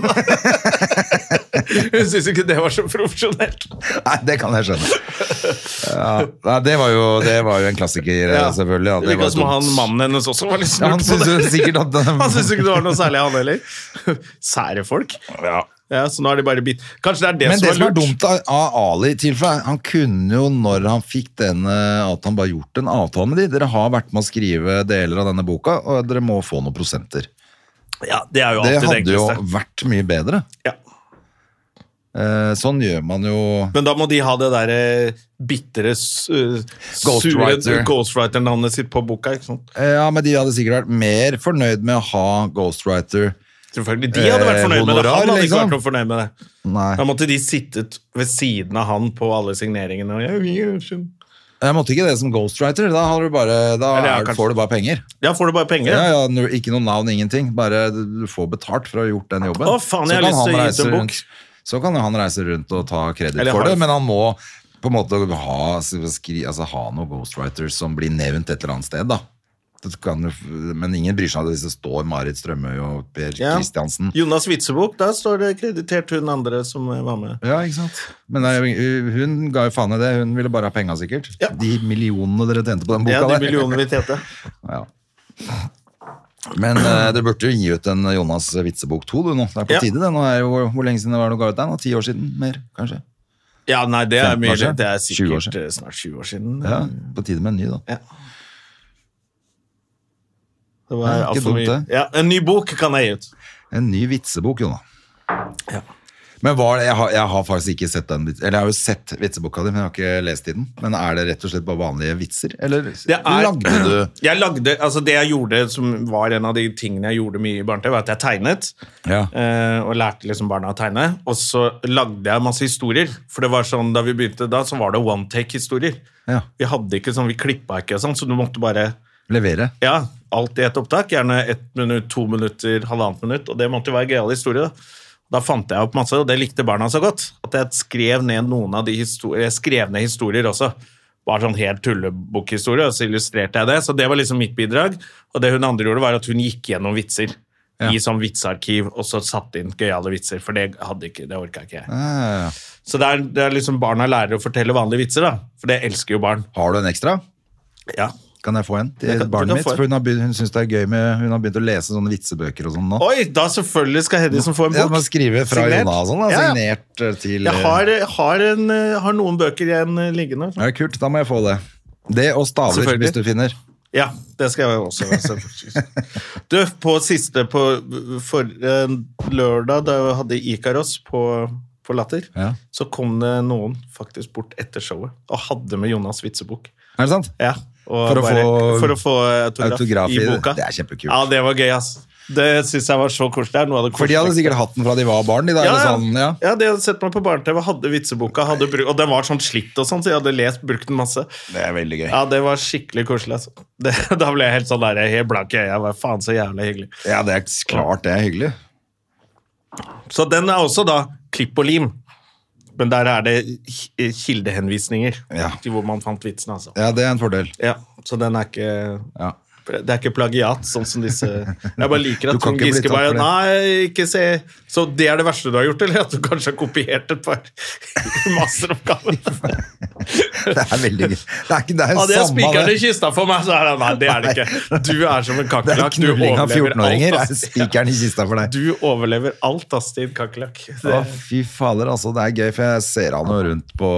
Speaker 1: hun syntes ikke det var så profesjonelt.
Speaker 2: Nei, det kan jeg skjønne. Ja, nei, det, var jo, det var jo en klassiker,
Speaker 1: Ja.
Speaker 2: selvfølgelig. at
Speaker 1: Det virka
Speaker 2: var
Speaker 1: som
Speaker 2: dumt.
Speaker 1: han mannen hennes også var litt
Speaker 2: ja,
Speaker 1: snurt
Speaker 2: han
Speaker 1: på
Speaker 2: syntes jo
Speaker 1: det.
Speaker 2: sikkert at
Speaker 1: Han syntes ikke det var noe særlig, han heller. Sære folk.
Speaker 2: Ja.
Speaker 1: Ja, så nå er de bare bitt. Kanskje det er det,
Speaker 2: Men
Speaker 1: som,
Speaker 2: det som er
Speaker 1: er lurt.
Speaker 2: dumt av av Ali tilfellet, han kunne jo når han fikk denne at han bare gjort en avtale med de. Dere har vært med å skrive deler av denne boka, og dere må få noen prosenter.
Speaker 1: Ja, det er jo
Speaker 2: Det
Speaker 1: alltid det,
Speaker 2: hadde jo
Speaker 1: enkleste.
Speaker 2: vært mye bedre.
Speaker 1: Ja.
Speaker 2: Eh, Sånn gjør man jo
Speaker 1: Men da må de ha det der eh, bitre, s- eh, sure
Speaker 2: Ghostwriter.
Speaker 1: ghostwriter-navnet sitt på boka. ikke sant?
Speaker 2: Eh, Ja, men de hadde sikkert vært mer fornøyd med å ha Ghostwriter.
Speaker 1: Selvfølgelig. De hadde vært
Speaker 2: Eh,
Speaker 1: fornøyd med det. Han
Speaker 2: honorar,
Speaker 1: hadde ikke
Speaker 2: liksom.
Speaker 1: vært noe fornøyd med det.
Speaker 2: Nei.
Speaker 1: Da måtte de sittet ved siden av han på alle signeringene. Og, «Jeg vil ikke».
Speaker 2: Jeg måtte ikke det som Ghostwriter. Da, har du bare, da
Speaker 1: Eller ja,
Speaker 2: er,
Speaker 1: kanskje.
Speaker 2: får du bare penger.
Speaker 1: Ja, får du bare penger?
Speaker 2: Ja,
Speaker 1: Ja,
Speaker 2: ja, nu- ikke noe navn, ingenting. Bare du du får betalt for å ha gjort den jobben.
Speaker 1: Å, faen, jeg har
Speaker 2: kan
Speaker 1: lyst
Speaker 2: han
Speaker 1: til å gi ut en
Speaker 2: reise
Speaker 1: bok.
Speaker 2: rundt- Så kan jo han reise rundt og ta kreditt
Speaker 1: Eller
Speaker 2: for
Speaker 1: har-
Speaker 2: det, men han må på en måte ha, skri, altså, ha noen ghostwriters som blir nevnt et eller annet sted, da. Det kan, jo- men ingen bryr seg om det hvis det står Marit Strømøy og Per
Speaker 1: Ja.
Speaker 2: Kristiansen.
Speaker 1: Jonas Witzebukk, der står det kreditert hun andre som eh, var med.
Speaker 2: Ja, ikke sant? Men det er jo- hun ga jo faen i det. Hun ville bare ha penga, sikkert.
Speaker 1: Ja.
Speaker 2: De millionene dere tjente på den boka
Speaker 1: Ja,
Speaker 2: der.
Speaker 1: de millionene vi tjente.
Speaker 2: Ja. Men eh, du burde jo gi ut en Jonas Vitsebok 2 du nå. Det er på
Speaker 1: Ja.
Speaker 2: tide det. Nå er jo, hvor lenge siden det var du ga ut den? da? Ti år siden? Mer, kanskje?
Speaker 1: Ja, nei, det er
Speaker 2: 15
Speaker 1: mye.
Speaker 2: år siden?
Speaker 1: Det er
Speaker 2: 20 år
Speaker 1: sikkert
Speaker 2: siden.
Speaker 1: eh, snart 20 år siden.
Speaker 2: Ja, på tide med en ny, da.
Speaker 1: Ja. Det
Speaker 2: Ja,
Speaker 1: var
Speaker 2: ikke
Speaker 1: alt for
Speaker 2: dumt,
Speaker 1: mye.
Speaker 2: det.
Speaker 1: Ja, en ny bok kan jeg gi ut.
Speaker 2: En ny vitsebok, Jonna.
Speaker 1: Ja.
Speaker 2: Men var det, jeg, har, jeg har faktisk ikke sett den vits- Eller jeg har jo sett vitseboka di, men jeg har ikke lest i den. Men er det rett og slett bare vanlige vitser, eller
Speaker 1: Det er-
Speaker 2: lagde du
Speaker 1: Jeg lagde, altså Det jeg gjorde, som var en av de tingene jeg gjorde mye i barne-TV, var at jeg tegnet.
Speaker 2: Ja.
Speaker 1: Eh, og lærte liksom barna å tegne. Og så lagde jeg masse historier. For det var sånn, da vi begynte da, så var det one take-historier.
Speaker 2: Ja.
Speaker 1: Vi hadde ikke sånn, vi klippa ikke og sånn, så du måtte bare
Speaker 2: Levere?
Speaker 1: ja, alt i ett opptak. Gjerne ett minutt, to minutter, halvannet minutt. Og det måtte jo være gøyal historie. Da. da fant jeg opp masse, og det likte barna så godt. At jeg skrev ned noen av de historier, jeg skrev ned historier også. Bare sånn helt tullebokhistorie, og så illustrerte jeg det. Så det var liksom mitt bidrag. Og det hun andre gjorde, var at hun gikk gjennom vitser. I sånn vitsearkiv, og så satte inn gøyale vitser. For det hadde ikke, det orka ikke jeg.
Speaker 2: Eh,
Speaker 1: Så det er, det er liksom barna lærer å fortelle vanlige vitser, da. For det elsker jo barn.
Speaker 2: har du en ekstra?
Speaker 1: Ja.
Speaker 2: Kan jeg få en til
Speaker 1: Jeg kan- du
Speaker 2: barnet
Speaker 1: kan
Speaker 2: mitt?
Speaker 1: få en.
Speaker 2: For hun, har begynt, hun syns det er gøy med Hun har begynt å lese sånne vitsebøker og sånn nå.
Speaker 1: Oi, da selvfølgelig skal Heddy som får en bok.
Speaker 2: Ja, man skriver fra
Speaker 1: Signert.
Speaker 2: Jonna og sånn, da.
Speaker 1: Ja, ja.
Speaker 2: Signert eh, til
Speaker 1: Jeg har, har, en, eh, har noen bøker igjen eh, liggende.
Speaker 2: Ja, kult, da må jeg få det. Det og staver,
Speaker 1: Selvfølgelig.
Speaker 2: hvis du finner.
Speaker 1: Ja, det skal jeg også være. selvfølgelig. Du, på siste på for, eh, lørdag, da vi hadde Ikaros på, på Latter,
Speaker 2: Ja.
Speaker 1: så kom det noen faktisk bort etter showet og hadde med Jonas vitsebok.
Speaker 2: Er det sant?
Speaker 1: Ja, og
Speaker 2: For å få
Speaker 1: for å få autograf,
Speaker 2: autograf i
Speaker 1: i
Speaker 2: det.
Speaker 1: boka.
Speaker 2: Det er kjempekult.
Speaker 1: Ja, det var gøy, ass. Det syns jeg var så koselig. Det er noe av det
Speaker 2: For de hadde
Speaker 1: koseligste.
Speaker 2: sikkert hatt den fra de var barn, de da.
Speaker 1: ja,
Speaker 2: eller
Speaker 1: ja.
Speaker 2: sånn, ja.
Speaker 1: ja, de hadde sett meg på barne-TV, hadde vitseboka, hadde bru- og den var sånn slitt og sånn, så jeg hadde lest, brukt den masse.
Speaker 2: Det er veldig gøy.
Speaker 1: Ja, det var skikkelig koselig, altså. Det, da ble jeg helt sånn der, helt blank i øya. Hva faen, så jævlig hyggelig.
Speaker 2: Ja, det er klart det er hyggelig.
Speaker 1: Så den er også da klipp og lim. Men der er det ki- kildehenvisninger
Speaker 2: Ja.
Speaker 1: til hvor man fant vitsen, altså.
Speaker 2: Ja, det er en fordel.
Speaker 1: Ja, så den er ikke
Speaker 2: Ja.
Speaker 1: Det er ikke plagiat, sånn som disse Jeg bare liker
Speaker 2: Du
Speaker 1: at
Speaker 2: kan
Speaker 1: Trond
Speaker 2: ikke bli
Speaker 1: Giske
Speaker 2: tatt
Speaker 1: bare
Speaker 2: for det.
Speaker 1: Nei, ikke se Så det er det verste du har gjort, eller? At du kanskje har kopiert et par masteroppgaver?
Speaker 2: Det er veldig gøy. Det er ikke det er jo
Speaker 1: Hadde jeg
Speaker 2: samme
Speaker 1: spikeren i
Speaker 2: det.
Speaker 1: kista for meg, så er det Nei, det er det ikke. Du er som en
Speaker 2: Det er
Speaker 1: kakerlakk. Du
Speaker 2: knulling av
Speaker 1: overlever
Speaker 2: 14-åringer.
Speaker 1: alt,
Speaker 2: Det er
Speaker 1: ass.
Speaker 2: spikeren i kista for deg.
Speaker 1: Du overlever alt, ass, din kakerlakk.
Speaker 2: Å,
Speaker 1: Det-
Speaker 2: fy fader, altså. Det er gøy, for jeg ser han jo rundt på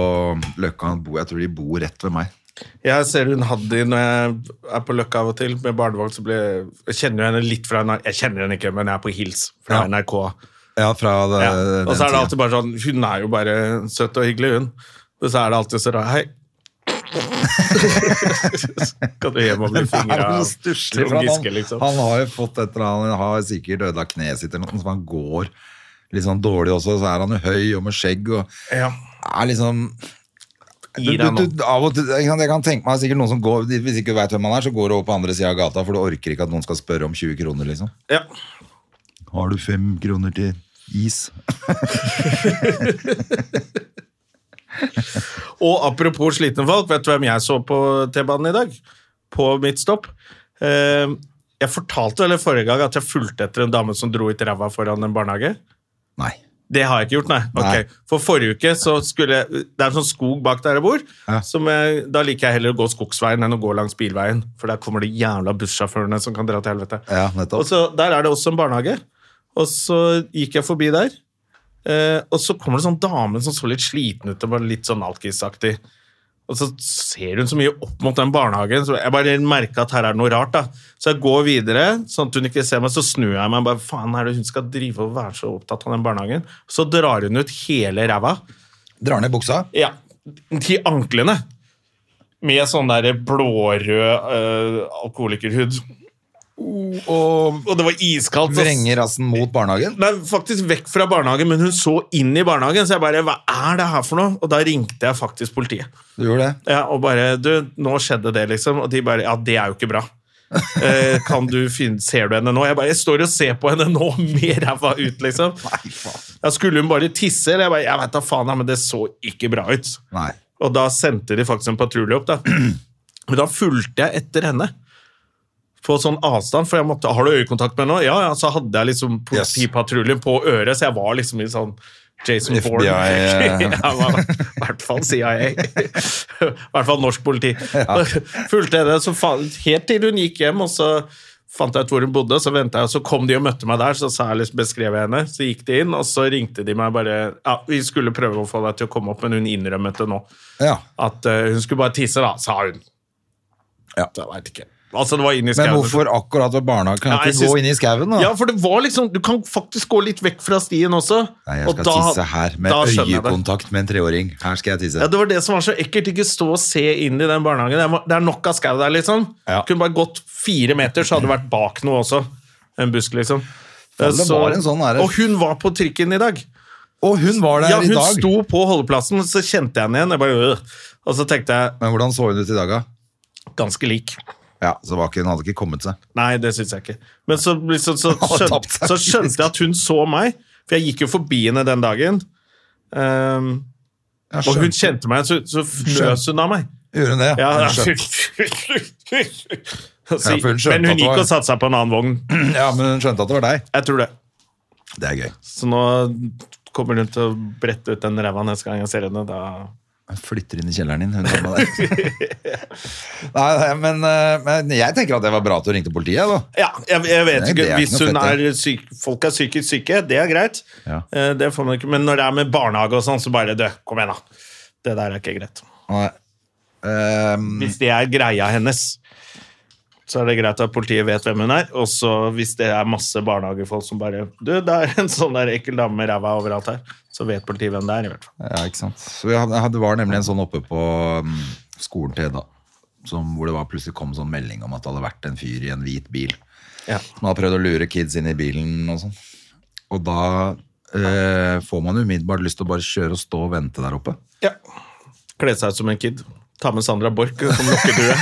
Speaker 2: Løkka. Han bor, jeg tror de bor rett ved meg.
Speaker 1: Jeg ser hun Haddy når jeg er på Løkka av og til med barnevogn. så blir- Jeg kjenner jo henne litt fra NRK. Jeg kjenner henne ikke, men jeg er på hils fra
Speaker 2: Ja.
Speaker 1: NRK.
Speaker 2: Ja, fra det,
Speaker 1: Ja.
Speaker 2: den
Speaker 1: Og så er det
Speaker 2: tiden.
Speaker 1: alltid bare sånn Hun er jo bare søt og hyggelig, hun. Og så er det alltid så rar Hei. Så kan du hjem og bli
Speaker 2: Det er
Speaker 1: fingra
Speaker 2: jo
Speaker 1: av
Speaker 2: stusslig, for
Speaker 1: Trond
Speaker 2: at
Speaker 1: Giske,
Speaker 2: han,
Speaker 1: liksom.
Speaker 2: han har jo fått et eller annet, han har sikkert ødelagt kneet sitt eller noe, så han går litt sånn dårlig også, så er han jo høy og med skjegg og
Speaker 1: Ja.
Speaker 2: er liksom du,
Speaker 1: Gi
Speaker 2: du,
Speaker 1: deg nå.
Speaker 2: du, av og til, jeg kan- jeg kan tenke meg sikkert noen som går Hvis ikke du vet hvem han er, så går du over på andre siden av gata For du orker ikke at noen skal spørre om 20 kroner liksom.
Speaker 1: ja.
Speaker 2: Har du 5 kroner til is?
Speaker 1: Og apropos slitne folk, vet du hvem jeg så på T-banen i dag? På mitt stopp. Eh, Jeg fortalte vel forrige gang at jeg fulgte etter en dame som dro ut ræva foran en barnehage.
Speaker 2: Nei
Speaker 1: Det har jeg ikke gjort, nei. Ok,
Speaker 2: Nei.
Speaker 1: For forrige uke så skulle jeg Det er en sånn skog bak der jeg bor.
Speaker 2: Ja.
Speaker 1: Som jeg, da liker jeg heller å gå skogsveien enn å gå langs bilveien. For der kommer de jævla bussjåførene som kan dra til helvete.
Speaker 2: Ja, nettopp.
Speaker 1: Og så Der er det også en barnehage. Og så gikk jeg forbi der, eh, og så kommer det sånn dame som så litt sliten ut og bare litt sånn alkisaktig. Og så ser hun så mye opp mot den barnehagen, så jeg bare merker at her er det noe rart. da. Så jeg går videre, sånn at hun ikke ser meg, så snur jeg meg og bare faen er det hun skal drive og være så opptatt av den barnehagen? Så drar hun ut hele ræva.
Speaker 2: Drar ned buksa
Speaker 1: Ja, til anklene. Med sånn der blårød eh, alkoholikerhud.
Speaker 2: Og
Speaker 1: Og det var iskaldt. ass.
Speaker 2: vrenger rassen mot barnehagen
Speaker 1: Nei, faktisk vekk fra barnehagen, men hun så inn i barnehagen. Så jeg bare Hva er det her for noe? Og da ringte jeg faktisk politiet.
Speaker 2: Du gjorde det
Speaker 1: Ja, og bare Du, nå skjedde det, liksom. Og de bare Ja, det er jo ikke bra. Eh, kan du finne, ser du henne nå? Jeg bare, jeg står og ser på henne nå med ræva ut, liksom.
Speaker 2: Nei, faen
Speaker 1: Ja, skulle hun bare tisse? Eller jeg bare Jeg veit da faen, ja, men det så ikke bra ut.
Speaker 2: Nei
Speaker 1: Og da sendte de faktisk en patrulje opp, da. Men da fulgte jeg etter henne. På sånn avstand, for jeg måtte Har du øyekontakt med henne? nå?» Ja, ja, så hadde jeg liksom
Speaker 2: Yes.
Speaker 1: politipatruljen på øret, så jeg var liksom i sånn Jason
Speaker 2: FBI,
Speaker 1: Bourne.
Speaker 2: eh.
Speaker 1: Jeg var- I hvert fall CIA. I hvert fall norsk politi. Fulgte henne så faen, helt til hun gikk hjem, og så fant jeg ut hvor hun bodde, så ventet jeg, og så kom de og møtte meg der, så sa jeg liksom, beskrev jeg henne, så gikk de inn, og så ringte de meg bare, ja, vi skulle prøve å få deg til å komme opp, men hun innrømmet det nå,
Speaker 2: Ja
Speaker 1: at eh, hun skulle bare tisse da, sa hun.
Speaker 2: Ja.
Speaker 1: Jeg vet ikke. Altså, det var inn
Speaker 2: Men
Speaker 1: i skauen.
Speaker 2: hvorfor akkurat ved barnehagen? Kan
Speaker 1: Ja,
Speaker 2: jeg
Speaker 1: jeg
Speaker 2: ikke
Speaker 1: syns-
Speaker 2: gå inn i skauen da?
Speaker 1: Ja, for det var liksom, du kan faktisk gå litt vekk fra stien også.
Speaker 2: Nei, jeg
Speaker 1: og
Speaker 2: skal
Speaker 1: da-
Speaker 2: tisse her med
Speaker 1: da skjønner jeg det.
Speaker 2: øyekontakt med en treåring. Her skal jeg tisse.
Speaker 1: Ja, Det var det som var så ekkelt. Ikke stå og se inn i den barnehagen. Det er- Det er nok av skau der, liksom.
Speaker 2: Ja.
Speaker 1: Kunne bare gått fire meter, så hadde det vært bak noe også. En busk, liksom.
Speaker 2: Faen, det var en sånn her.
Speaker 1: og hun var på trikken i dag.
Speaker 2: Og hun var der
Speaker 1: Ja,
Speaker 2: i
Speaker 1: Hun
Speaker 2: dag!
Speaker 1: sto på holdeplassen, så kjente jeg henne igjen. Jeg bare, øh. Og så tenkte jeg
Speaker 2: Men hvordan så hun ut i dag, da?
Speaker 1: ganske lik.
Speaker 2: Ja, så var ikke, hun hadde ikke kommet seg.
Speaker 1: Nei, det syns jeg ikke. Men så, liksom, så,
Speaker 2: Han har
Speaker 1: skjøn,
Speaker 2: tapt seg,
Speaker 1: så skjønte jeg at hun så meg, for jeg gikk jo forbi henne den dagen. Ehm,
Speaker 2: Jeg
Speaker 1: og hun
Speaker 2: skjønte.
Speaker 1: kjente meg, så, så fnøs hun av meg.
Speaker 2: Gjorde hun det?
Speaker 1: Ja,
Speaker 2: hun
Speaker 1: ja.
Speaker 2: skjønte.
Speaker 1: Så-
Speaker 2: Ja, for hun skjønte
Speaker 1: men
Speaker 2: at
Speaker 1: hun
Speaker 2: det
Speaker 1: gikk
Speaker 2: var-
Speaker 1: og satte seg på en annen vogn.
Speaker 2: ja, men hun skjønte at det var deg.
Speaker 1: Jeg tror det.
Speaker 2: Det er gøy.
Speaker 1: Så nå kommer hun til å brette ut den ræva neste gang jeg ser henne. Da.
Speaker 2: Hun flytter inn i kjelleren din, hun dama der. nei, nei, men, eh, men jeg tenker at det var bra at du ringte politiet, da.
Speaker 1: Ja, jeg, jeg vet
Speaker 2: Nei, det er
Speaker 1: ikke.
Speaker 2: ikke
Speaker 1: Hvis
Speaker 2: noe
Speaker 1: hun
Speaker 2: fett,
Speaker 1: er syk, folk er psykisk syke, det er greit.
Speaker 2: Ja.
Speaker 1: Eh, Det får man ikke. Men når det er med barnehage og sånn, så bare dø. Kom igjen, da. Det der er ikke greit.
Speaker 2: Nei. Ehm,
Speaker 1: Mm. Hvis det er greia hennes. så er det greit at politiet vet hvem hun er. Og så hvis det er masse barnehagefolk som bare Du, det er en sånn der ekkel dame med ræva overalt her. Så vet politiet hvem det er, i hvert fall.
Speaker 2: Ja, ikke sant. Så vi hadde, det var nemlig en sånn oppe på mm, skolen til Hedda, som, hvor det var plutselig kom sånn melding om at det hadde vært en fyr i en hvit bil.
Speaker 1: Ja.
Speaker 2: Som hadde prøvd å lure kids inn i bilen og sånn. Og da eh, får man jo umiddelbart lyst til å bare kjøre og stå og vente der oppe.
Speaker 1: Ja. Kle seg ut som en kid. Ta med Sandra Borch som lokkedue.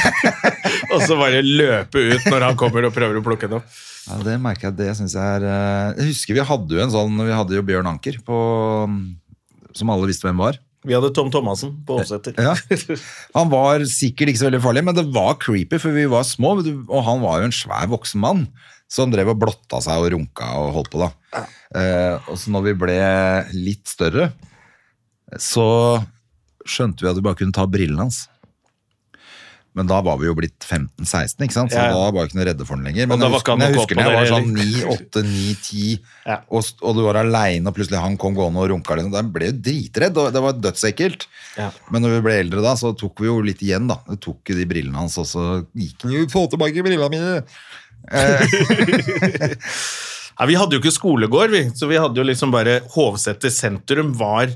Speaker 1: og så bare løpe ut når han kommer og prøver å plukke henne opp.
Speaker 2: Ja, det merker jeg, det synes jeg er... eh, Jeg husker vi hadde jo en sånn, vi hadde jo Bjørn Anker, på, som alle visste hvem var.
Speaker 1: Vi hadde Tom Thomassen på Åseter.
Speaker 2: Ja. Han var sikkert ikke så veldig farlig, men det var creepy, for vi var små, og han var jo en svær voksen mann som drev og blotta seg og runka og holdt på da. Eh, og så når vi ble litt større, så skjønte vi at vi bare kunne ta brillene hans. Men da var vi jo blitt 15-16, ikke sant? Så
Speaker 1: Ja, ja.
Speaker 2: da var vi ikke noe redde for den lenger. Men
Speaker 1: da
Speaker 2: jeg
Speaker 1: var ikke
Speaker 2: husker, men jeg
Speaker 1: han noe
Speaker 2: husker
Speaker 1: opp
Speaker 2: når jeg
Speaker 1: på
Speaker 2: var
Speaker 1: dere
Speaker 2: sånn 9, 8, 9, 10,
Speaker 1: Ja.
Speaker 2: og, s- og du var alene, og plutselig han kom gående og runka. Liksom. Da ble jeg jo dritredd, og det var dødsekkelt.
Speaker 1: Ja.
Speaker 2: Men når vi ble eldre da, så tok vi jo litt igjen da. Vi tok jo de brillene hans, og så gikk han jo, få tilbake brillene mine.
Speaker 1: Nei, vi hadde jo ikke skolegård, vi. Så vi hadde jo liksom bare Hovseter sentrum var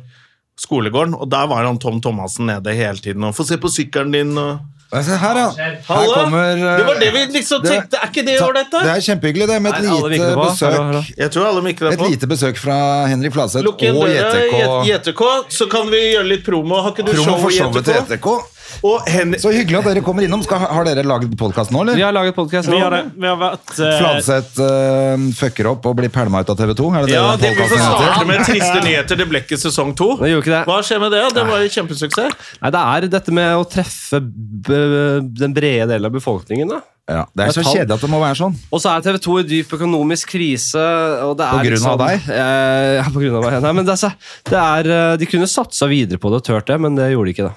Speaker 1: skolegården, og der var han Tom Thomassen nede hele tiden og 'Få se på sykkelen din', og
Speaker 2: Og jeg sa, Her, ja. Her
Speaker 1: Hallo!
Speaker 2: kommer... eh,
Speaker 1: Det var det vi liksom
Speaker 2: det-
Speaker 1: tenkte. Er ikke det ålreit,
Speaker 2: Det
Speaker 1: da?
Speaker 2: er kjempehyggelig det, med et
Speaker 3: Nei, alle
Speaker 2: lite
Speaker 3: virker på.
Speaker 2: besøk.
Speaker 3: Hallo, hallo.
Speaker 1: Jeg tror alle mikler
Speaker 2: Et
Speaker 1: på.
Speaker 2: lite besøk fra Henrik Fladseth
Speaker 1: Lukk igjen
Speaker 2: og
Speaker 1: døra,
Speaker 2: JTK.
Speaker 1: JTK, så kan vi gjøre litt promo. Har ikke du
Speaker 2: Promo for
Speaker 1: show i
Speaker 2: showet til
Speaker 1: JTK?
Speaker 2: JTK.
Speaker 1: Og Henrik
Speaker 2: Så hyggelig at dere kommer innom. Skal, har dere laget podkast nå, eller?
Speaker 3: Vi har laget podkast.
Speaker 4: Vi har, det. vi har vært eh,
Speaker 2: Fladseth eh, fucker opp og blir pælma ut av TV 2? Er det det
Speaker 1: Ja, det
Speaker 2: den
Speaker 1: vi får
Speaker 2: podcasten heter?
Speaker 1: starte med triste nyheter. Det ble ikke sesong to.
Speaker 3: Det gjorde ikke det.
Speaker 1: Hva skjer med det? Det var jo kjempesuksess.
Speaker 3: Nei, det er dette med å treffe b den brede delen av befolkningen. da.
Speaker 2: Ja, det er så
Speaker 3: Metall.
Speaker 2: kjedelig at det må være sånn.
Speaker 3: Og så er TV 2 i dyp økonomisk krise. Og det er
Speaker 2: På grunn
Speaker 3: litt
Speaker 2: av
Speaker 3: sånn-
Speaker 2: deg?
Speaker 3: Eh, ja, på grunn av meg. Nei, men det er, så- det er, eh, de kunne satsa videre på det og turt det, men det gjorde de ikke. da.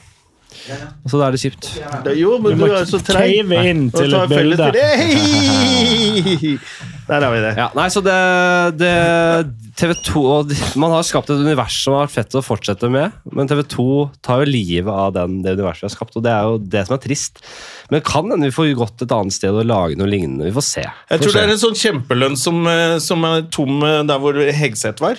Speaker 3: Og så da er det kjipt.
Speaker 1: Jo, men du er så treig.
Speaker 4: Cave inn til
Speaker 1: ta
Speaker 4: et
Speaker 1: felles
Speaker 4: bilde.
Speaker 1: bilde. Hei! Der har vi det.
Speaker 3: Ja, nei, så det, det TV 2 og de- Man har skapt et univers som har vært fett å fortsette med, men TV 2 tar jo livet av den, det universet vi har skapt, og det er jo det som er trist. Men kan hende vi får gått et annet sted og lage noe lignende. Vi får se.
Speaker 1: Jeg tror det er en sånn kjempelønn som, eh, som er tom eh, der hvor Hegseth var.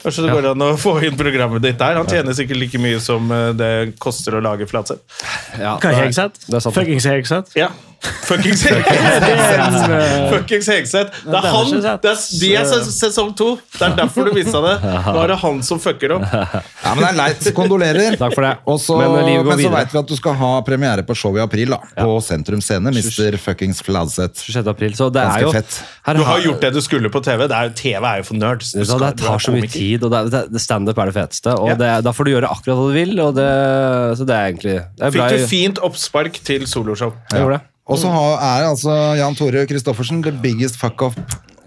Speaker 1: Kanskje det går an å få inn programmet ditt der. Han tjener sikkert like mye som eh, det koster å lage Flatseth.
Speaker 3: Ja,
Speaker 4: Hva
Speaker 3: nei,
Speaker 4: er Hegseth?
Speaker 3: Det er sant.
Speaker 4: Fuckings Hegseth.
Speaker 1: Ja. Fuckings Hegseth!
Speaker 4: Det er en, eh,
Speaker 1: Fuckings Hegseth. Det
Speaker 4: den
Speaker 1: er
Speaker 4: er
Speaker 1: han,
Speaker 4: ikke sett.
Speaker 1: det er, de er ses- sesong to. Det er derfor du mista det. Nå er det han som fucker opp.
Speaker 2: Ja, men det er leit. Kondolerer.
Speaker 3: Takk for det.
Speaker 2: Og så,
Speaker 3: Men, eh, livet
Speaker 2: men,
Speaker 3: går
Speaker 2: så
Speaker 3: videre.
Speaker 2: veit vi at du skal ha premiere på show i april, da. På Sentrum Scene. Mr. Fuckings Fladseth.
Speaker 3: 26. april, så det
Speaker 2: Ganske
Speaker 3: er jo
Speaker 2: fett.
Speaker 3: her
Speaker 1: Du har gjort det du skulle på TV. Det er jo, TV er jo for nerds. Du
Speaker 3: Det, sånn,
Speaker 1: skal-
Speaker 3: det
Speaker 1: du er
Speaker 3: tar så mye
Speaker 1: komiker.
Speaker 3: tid, og det er- det- det- standup er det feteste. Og
Speaker 1: Ja.
Speaker 3: det, da får du gjøre akkurat hva du vil, og det, så det er egentlig det er bra.
Speaker 1: Fikk du
Speaker 3: Jeg,
Speaker 1: fint oppspark til soloshow?
Speaker 3: jeg gjorde det.
Speaker 2: Og så har- er altså Jan Tore Christoffersen the biggest fuck up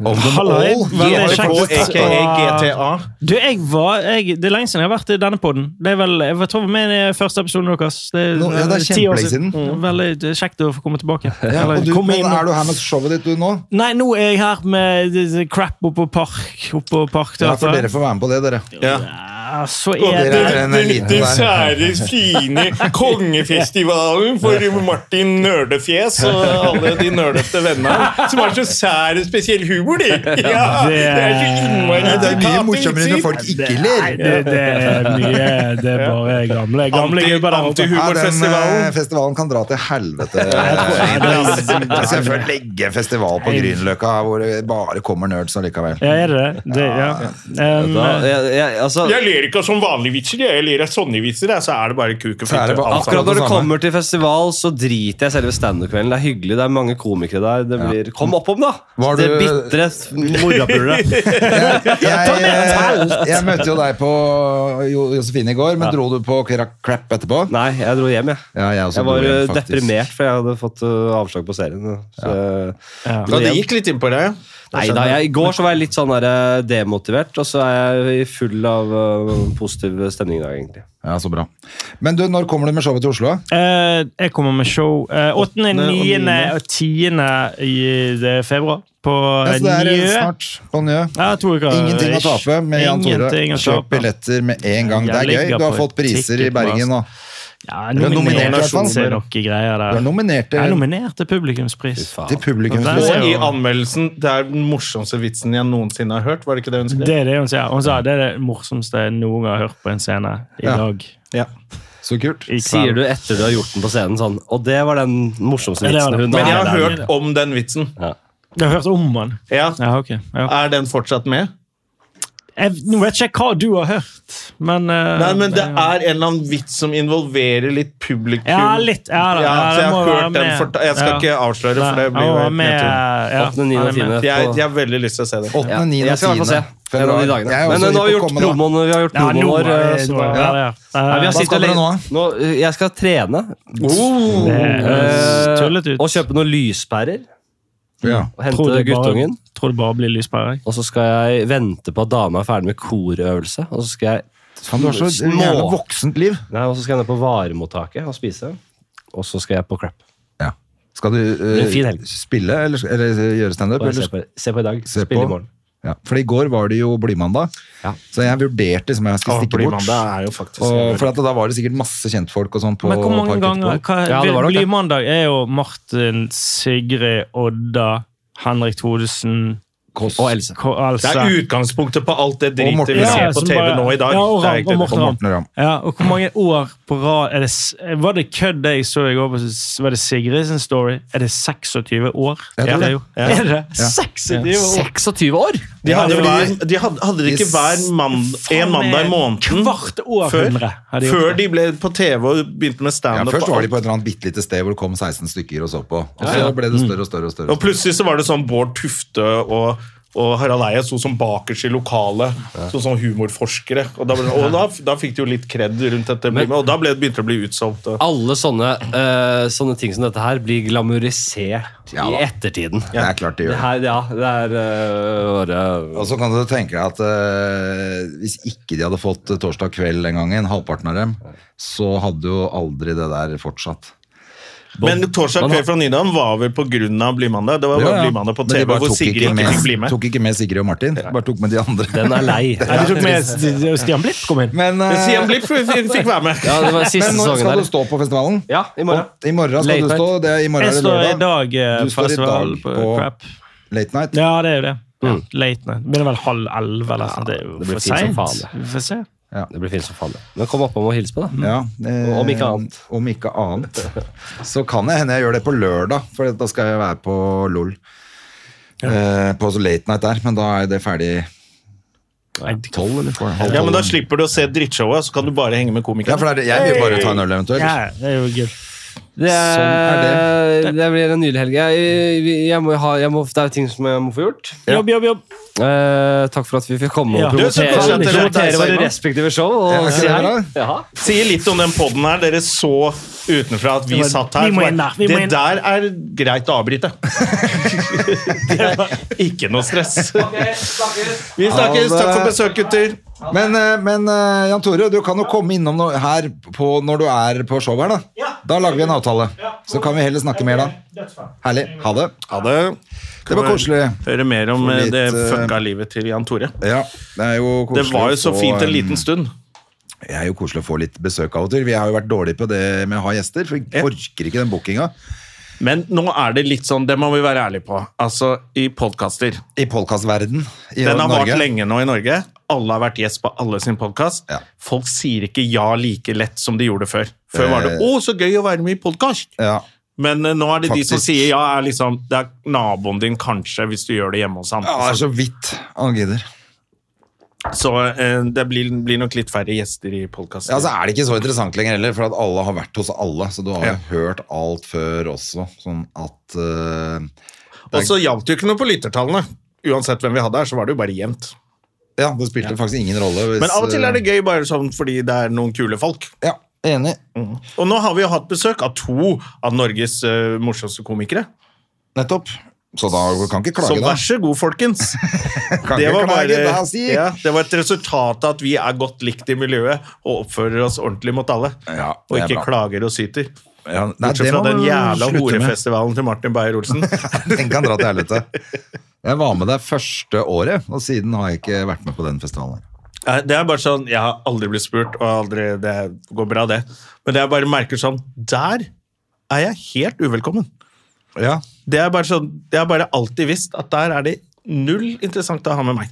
Speaker 2: of them all.
Speaker 4: Halløy. Veldig
Speaker 2: Ja,
Speaker 4: kjekt.
Speaker 2: det er på-
Speaker 1: Og
Speaker 4: Kjekt.
Speaker 1: aka GTA.
Speaker 4: Du, jeg var jeg, Det er lenge siden jeg har vært i denne poden. Det er vel, jeg var- tror jeg var med i den første episoden deres. Det er,
Speaker 2: Nå- ja, det er
Speaker 4: eh, ti år
Speaker 2: kjempelenge siden.
Speaker 4: Mm. Veldig det er kjekt å få komme tilbake.
Speaker 2: Ja,
Speaker 4: Eller
Speaker 2: og du,
Speaker 4: komme
Speaker 2: men
Speaker 4: inn og-
Speaker 2: er du her med showet ditt du nå?
Speaker 4: Nei, nå er jeg her med d- d- crap oppå park. Oppå
Speaker 2: Ja, for dere
Speaker 4: parkteatret.
Speaker 2: får være med på det, dere.
Speaker 1: Ja.
Speaker 4: Ja, så
Speaker 2: dere
Speaker 4: er
Speaker 2: er
Speaker 4: det
Speaker 2: en eliten der.
Speaker 1: sære, fine kongefestivalen for Martin Nerdefjes og alle de nerdete vennene som har så sær og spesiell humor, de. Ja,
Speaker 4: Det
Speaker 2: Det er mye morsommere når
Speaker 1: katingsykt.
Speaker 2: folk ikke
Speaker 4: Nei,
Speaker 2: ler.
Speaker 4: det, det er mye Det er bare gamle gamle
Speaker 1: Anti-
Speaker 4: gubber der oppe.
Speaker 2: Ja, den eh,
Speaker 1: Antihumorfestivalen.
Speaker 2: festivalen kan dra til helvete. Så jeg får legge festival på Grünerløkka hvor det bare kommer nerds allikevel.
Speaker 4: Ja, er det det? det ja. Um,
Speaker 3: Da, jeg, jeg, altså,
Speaker 1: Jeg ler ikke av sånn sånne vanlige vitser, jeg. Jeg ler av sånne vitser, jeg. så er det bare kuk og
Speaker 2: Så er det
Speaker 1: fitte.
Speaker 2: bare
Speaker 1: alt
Speaker 3: akkurat
Speaker 1: sammen.
Speaker 3: når det
Speaker 2: samme.
Speaker 3: kommer til festival, så driter jeg selve standup-kvelden. Det er hyggelig, det er mange komikere der. Det blir, kom opp om, da!
Speaker 2: Var
Speaker 3: Det
Speaker 2: du-
Speaker 3: bitre s- morapulere.
Speaker 2: Jeg, eh, jeg møtte jo deg på Jo- Josefine i går, men dro du på Kra- crap etterpå?
Speaker 3: Nei, jeg dro hjem, jeg.
Speaker 2: Ja, jeg også
Speaker 3: Jeg
Speaker 2: dro
Speaker 3: var
Speaker 2: hjem,
Speaker 3: eh,
Speaker 2: faktisk.
Speaker 3: deprimert, for jeg hadde fått eh, avslag på serien. Så,
Speaker 4: Ja.
Speaker 1: Ja, det gikk litt inn på deg.
Speaker 3: Nei, da, jeg, I går så var jeg litt sånn der, eh, demotivert, og så er jeg full av eh, positiv stemning i dag, egentlig.
Speaker 2: Ja, så bra. Men du, når kommer du med showet til Oslo?
Speaker 4: eh, jeg kommer med show eh, 8., 9.
Speaker 1: niende.
Speaker 4: og 10. i det er februar. På
Speaker 2: Ja, så det er eh,
Speaker 4: Njø.
Speaker 2: snart på Njø.
Speaker 4: Ja, to uker.
Speaker 2: Ingenting å tape med Jan Tore.
Speaker 4: Ingenting å
Speaker 2: Kjøp
Speaker 4: tape. altså.
Speaker 2: billetter med en gang. Det
Speaker 4: Jeg
Speaker 2: er gøy.
Speaker 4: ligger
Speaker 2: Du har
Speaker 4: på
Speaker 2: fått priser i
Speaker 4: Ticketmaster.
Speaker 2: Bergen nå.
Speaker 4: Ja,
Speaker 2: er nominert, i hvert fall.
Speaker 4: nominert er noe greier
Speaker 2: Du er
Speaker 4: der.
Speaker 2: nominert
Speaker 4: Jeg er
Speaker 2: til,
Speaker 4: nominert til publikumspris.
Speaker 2: til
Speaker 4: Det
Speaker 2: publikumspris.
Speaker 4: er
Speaker 1: Og i
Speaker 4: jo-
Speaker 1: anmeldelsen, det er den morsomste vitsen jeg noensinne har hørt. Var det ikke det hun skrev?
Speaker 4: Det er det hun sier. Hun sa det er det morsomste jeg noen gang har hørt på en scene i
Speaker 2: Ja.
Speaker 4: dag.
Speaker 1: Ja.
Speaker 2: Så kult.
Speaker 4: I
Speaker 3: Sier
Speaker 4: kveld.
Speaker 3: du etter du har gjort den på scenen sånn Og det var den morsomste
Speaker 4: Ja, det
Speaker 3: vitsen
Speaker 4: var det.
Speaker 3: hun
Speaker 1: Men jeg har
Speaker 3: der.
Speaker 1: hørt om den vitsen.
Speaker 4: Jeg har hørt om den.
Speaker 1: Ja.
Speaker 4: Ja, ok. Ja.
Speaker 1: Er den fortsatt med?
Speaker 4: Jeg, nå vet ikke jeg hva du har hørt, men eh,
Speaker 1: Nei, men det er en eller annen vits som involverer litt publikum.
Speaker 4: Ja, litt. Ja, da.
Speaker 1: Ja,
Speaker 4: Ja,
Speaker 1: så jeg
Speaker 4: må
Speaker 1: har
Speaker 4: være
Speaker 1: hørt den
Speaker 4: med.
Speaker 1: forta- Jeg skal
Speaker 4: Ja.
Speaker 1: ikke avsløre, for det blir
Speaker 4: Nei,
Speaker 1: jo
Speaker 4: han var
Speaker 1: helt
Speaker 4: med,
Speaker 1: nedtur.
Speaker 4: ja,
Speaker 3: Åttende, niende,
Speaker 4: han er med.
Speaker 3: tiende.
Speaker 1: Jeg, jeg har veldig lyst til å se det.
Speaker 2: 8., 9.
Speaker 3: Jeg skal i hvert fall se. En av de dagene.
Speaker 2: Jeg er
Speaker 3: Men
Speaker 2: også
Speaker 3: eh, nå har
Speaker 2: hypp på
Speaker 3: vi gjort
Speaker 2: å komme, da.
Speaker 3: promoen vi har gjort
Speaker 4: Ja,
Speaker 3: promoen
Speaker 4: nå
Speaker 3: vår.
Speaker 4: er
Speaker 3: eh,
Speaker 4: det-
Speaker 3: så-
Speaker 4: nå er det- ja,
Speaker 3: Nei, vi har
Speaker 2: Hva
Speaker 3: sittet
Speaker 2: skal dere
Speaker 3: lenge- Nå, eh, jeg skal trene.
Speaker 2: Oh.
Speaker 4: Det høres tullet
Speaker 3: Eh,
Speaker 4: ut.
Speaker 3: og kjøpe noen lyspærer.
Speaker 2: Ja.
Speaker 3: Og hente guttungen.
Speaker 4: Bare, tror det bare blir lyspære.
Speaker 3: Og så skal jeg vente på at dama er ferdig med korøvelse. Og så skal jeg
Speaker 2: Faen, du har så
Speaker 3: Små.
Speaker 2: jævla voksent liv.
Speaker 3: Nei, og så skal jeg ned på varemottaket og spise. Og så skal jeg på crap.
Speaker 2: Skal du eh,
Speaker 3: blir en fin helg.
Speaker 2: spille eller, eller eh, gjøre standup?
Speaker 3: Bare se
Speaker 2: eller-
Speaker 3: på, se på i dag.
Speaker 2: Se
Speaker 3: Spille
Speaker 2: på.
Speaker 3: i morgen.
Speaker 2: Ja. For i går var det jo Blymandag,
Speaker 3: Ja.
Speaker 2: så jeg vurderte liksom jeg skulle stikke bort.
Speaker 1: Blymandag er jo faktisk
Speaker 2: Og for at da var det sikkert masse kjentfolk og sånn på
Speaker 4: Men hvor mange
Speaker 2: parken
Speaker 4: ganger
Speaker 2: etterpå.
Speaker 4: hva,
Speaker 3: Ja, det var nok det.
Speaker 4: Blymandag er jo Martin, Sigrid, Odda, Henrik Thodesen
Speaker 2: Kåss.
Speaker 3: Og Else.
Speaker 4: Ko-
Speaker 1: Det
Speaker 4: altså.
Speaker 1: er utgangspunktet på alt det
Speaker 2: Og
Speaker 1: dritet
Speaker 2: Morten.
Speaker 1: vi ser
Speaker 4: Ja,
Speaker 1: på
Speaker 4: som
Speaker 1: TV
Speaker 4: bare-
Speaker 1: nå i dag.
Speaker 4: Ja, og
Speaker 1: Det er
Speaker 4: Ramm,
Speaker 1: helt
Speaker 4: og
Speaker 1: riktig.
Speaker 4: Morten.
Speaker 2: Og Morten Ramm.
Speaker 4: Ja, og hvor mange år på rad er det, s- Var det kødd det jeg så i går? på s- Var det Sigrid sin story? Er det 26 år?
Speaker 2: Jeg tror
Speaker 4: er
Speaker 2: det.
Speaker 4: jo.
Speaker 1: Ja.
Speaker 4: Er det 26 år?
Speaker 3: 26 år!
Speaker 1: De hadde,
Speaker 2: Ja, fordi-
Speaker 1: hver- de hadde, hadde det ikke hver mand, en mandag i måneden
Speaker 4: Kvart århundre. har de gjort
Speaker 1: før
Speaker 4: det.
Speaker 1: de ble på TV og begynte
Speaker 2: Ja,
Speaker 1: med standup?
Speaker 2: først
Speaker 1: og
Speaker 2: var de
Speaker 1: alt.
Speaker 2: på et eller annet bitte lite sted hvor det kom 16 stykker og så på. Og
Speaker 1: Ja, ja.
Speaker 2: så ble det større og større. Og større.
Speaker 1: Og plutselig så var det sånn Bård Tufte og, og Harald Eia sto som bakerst i lokalet. Som sånn humorforskere. Og da, ble, og da, da fikk de jo litt kred rundt dette.
Speaker 3: Men-
Speaker 1: og da ble, begynte det å bli utsolgt. Og.
Speaker 3: Alle sånne, eh, sånne ting som dette her blir glamorisert
Speaker 2: Ja da.
Speaker 3: i ettertiden.
Speaker 2: Det er klart de gjør
Speaker 3: Det
Speaker 2: det.
Speaker 3: her, ja, det er eh, bare
Speaker 2: Og så kan du tenke deg at eh, hvis ikke de hadde fått torsdag kveld den gangen, halvparten av dem, så hadde jo aldri det der fortsatt.
Speaker 1: Men torsdag
Speaker 3: Man har-
Speaker 1: kveld fra Nydalen var vel på grunn av Blymandag. Det var bare Blymandag på
Speaker 2: Men de
Speaker 1: TV
Speaker 2: bare
Speaker 1: hvor
Speaker 2: tok
Speaker 1: Sigrid ikke fikk bli med.
Speaker 2: Tok ikke med Sigrid og Martin, bare tok med de andre.
Speaker 3: Den er lei.
Speaker 4: Nei, de tok med de- de- Stian Blipp kom inn.
Speaker 2: Men, eh,
Speaker 1: Stian Blipp fikk fikk være med.
Speaker 3: Ja, det var siste
Speaker 2: men når
Speaker 3: sesongen
Speaker 2: skal du
Speaker 3: der.
Speaker 2: stå på festivalen?
Speaker 3: Ja, i morgen.
Speaker 2: Og I morgen skal
Speaker 3: Late
Speaker 2: du
Speaker 3: night.
Speaker 2: stå. Det er, I morgen
Speaker 4: Jeg
Speaker 2: er det
Speaker 4: står i
Speaker 2: lørdag.
Speaker 4: dag eh,
Speaker 2: Du står i
Speaker 4: festival
Speaker 2: dag
Speaker 4: på
Speaker 2: på-
Speaker 4: Crap.
Speaker 2: Late night.
Speaker 4: Ja, det er jo det. Late night. Begynner vel halv elleve eller sånt. Det er jo
Speaker 3: det blir
Speaker 4: for
Speaker 3: fint som
Speaker 4: seint.
Speaker 3: faen,
Speaker 4: Vi får se.
Speaker 3: Det blir fint som faen. det. Men kom oppom og hils på, da.
Speaker 2: Ja, eh,
Speaker 3: Om ikke annet.
Speaker 2: Om ikke annet. Så kan det hende jeg gjør det på lørdag, for da skal jeg være på LOL. Eh, på så late night der, men da er det ferdig tolv eller for, halv
Speaker 1: Ja, men Da
Speaker 2: tolv.
Speaker 1: slipper du å se drittshowet, så kan du bare henge med
Speaker 2: Ja,
Speaker 1: komikeren.
Speaker 2: for det er, jeg vil bare ta en øl eventuelt.
Speaker 4: Ja, det er jo gøy.
Speaker 3: Det, er,
Speaker 2: Sånn
Speaker 3: det. blir en nydelig helg. Jeg, jeg må ha, jeg må, det er jo ting som jeg må få gjort.
Speaker 4: Jobb, jobb, jobb.
Speaker 3: Eh, takk for at vi fikk komme
Speaker 4: Ja.
Speaker 3: og
Speaker 1: Du, så
Speaker 3: promotere,
Speaker 1: fortsetter det.
Speaker 3: promotere våre respektive show. Og,
Speaker 2: Ja, ikke det bra?
Speaker 3: Jaha.
Speaker 1: Sier litt om den poden her. Dere så utenfra at vi
Speaker 4: Det var-
Speaker 1: satt her.
Speaker 4: vi må
Speaker 1: så bare,
Speaker 4: inn der, vi må
Speaker 1: det
Speaker 4: inn.
Speaker 1: der er greit å avbryte. det er ikke noe stress. Vi snakkes. Takk for besøk, gutter.
Speaker 2: Men, eh, men eh, Jan Tore, du kan jo komme innom noe her på, når du er på show her, da. Da lager vi en avtale. Så kan vi heller snakke mer da. Herlig. Ha det.
Speaker 1: Ha det.
Speaker 2: Det var koselig.
Speaker 1: Høre mer om
Speaker 2: Få litt,
Speaker 1: eh, det
Speaker 2: eh,
Speaker 1: fucka livet til Jan Tore.
Speaker 2: Ja, det er jo
Speaker 1: Det
Speaker 2: koselig.
Speaker 1: var jo
Speaker 2: å
Speaker 1: så
Speaker 2: få,
Speaker 1: fint en
Speaker 2: eh,
Speaker 1: liten stund.
Speaker 2: Det er jo koselig å få litt besøk av og til. Vi har jo vært dårlige på det med å ha gjester, for vi
Speaker 1: Ja.
Speaker 2: orker ikke den bookinga.
Speaker 1: Men nå er det litt sånn, det må vi være ærlige på, altså i podkaster.
Speaker 2: I podkastverden i
Speaker 1: Den har
Speaker 2: Norge.
Speaker 1: vart lenge nå i Norge. Alle har vært gjest på alle sin podkast.
Speaker 2: Ja.
Speaker 1: Folk sier ikke ja like lett som de gjorde før. Før var det
Speaker 2: Eh.
Speaker 1: 'Å, så gøy å være med i podkast'.
Speaker 2: Ja.
Speaker 1: Men eh, nå er det de som
Speaker 2: Faktisk.
Speaker 1: sier ja, er liksom, det er naboen din kanskje, hvis du gjør det hjemme hos han.
Speaker 2: ja, det er så vidt han gidder.
Speaker 1: Så eh, det blir, blir nok litt færre gjester i podkasten.
Speaker 2: Ja, altså, så er det ikke så interessant lenger heller, for at alle har vært hos alle. Så du har jo
Speaker 1: Ja.
Speaker 2: hørt alt før også, sånn at eh,
Speaker 1: Og så hjalp det jo ikke noe på lyttertallene. Uansett hvem vi hadde her, så var det jo bare jevnt.
Speaker 2: Ja, det spilte faktisk ingen rolle. Hvis, eh,
Speaker 1: Men av og til er det gøy bare sånn fordi det er noen kule folk.
Speaker 2: Ja, enig.
Speaker 1: Og nå har vi jo hatt besøk av to av Norges eh, morsomste komikere.
Speaker 2: Nettopp. Så da kan ikke
Speaker 1: Så
Speaker 2: klage, da.
Speaker 1: vær så god, folkens.
Speaker 2: Kan
Speaker 1: Det
Speaker 2: ikke
Speaker 1: var,
Speaker 2: klage,
Speaker 1: bare,
Speaker 2: da, si.
Speaker 1: ja, det var et resultat av at vi er godt likt i miljøet og oppfører oss ordentlig mot alle.
Speaker 2: Ja,
Speaker 1: og
Speaker 2: det er
Speaker 1: ikke
Speaker 2: bra.
Speaker 1: klager og syter.
Speaker 2: Ja, nei,
Speaker 1: Bortsett
Speaker 2: det
Speaker 1: fra
Speaker 2: må
Speaker 1: den
Speaker 2: man
Speaker 1: jævla
Speaker 2: slutte med.
Speaker 1: horefestivalen til Martin Beyer-Olsen.
Speaker 2: Den kan dra til helvete. Jeg var med deg første året, og siden har jeg ikke vært med på den festivalen. her.
Speaker 1: Eh, Det er bare sånn, Jeg har aldri blitt spurt, og aldri, det går bra, det. Men det jeg bare merker sånn Der er jeg helt uvelkommen.
Speaker 2: Ja.
Speaker 1: Det er bare sånn, Jeg har bare alltid visst at der er det null interessant å ha med meg.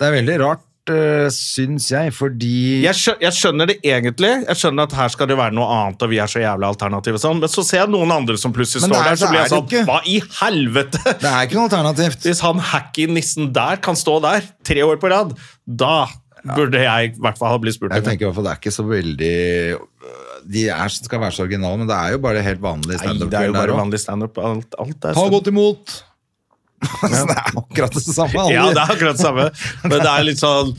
Speaker 2: Det er veldig rart, øh, syns jeg, fordi
Speaker 1: Jeg, skjø jeg skjønner det egentlig, jeg skjønner at her skal det være noe annet, og vi er så jævla alternative, og sånn. men så ser jeg noen andre som plutselig
Speaker 2: Men det
Speaker 1: står
Speaker 2: er-
Speaker 1: der, så
Speaker 2: så er
Speaker 1: blir jeg
Speaker 2: det
Speaker 1: sånn
Speaker 2: ikke.
Speaker 1: Hva i helvete?
Speaker 2: Det er ikke noe alternativt.
Speaker 1: Hvis han hacky nissen der kan stå der tre år på rad, da burde jeg i hvert fall ha blitt spurt.
Speaker 2: Jeg
Speaker 1: om det.
Speaker 2: tenker i hvert fall det er ikke så veldig øh, De er, skal være så originale, men det er jo bare helt vanlig
Speaker 1: Nei, det er jo
Speaker 2: standup-kveld der
Speaker 1: bare
Speaker 2: også.
Speaker 1: vanlig standup. Alt, alt er
Speaker 2: Ta
Speaker 1: standup.
Speaker 2: godt imot! Så det er akkurat det samme. alle-
Speaker 1: Ja, det er akkurat det samme. Men det er litt sånn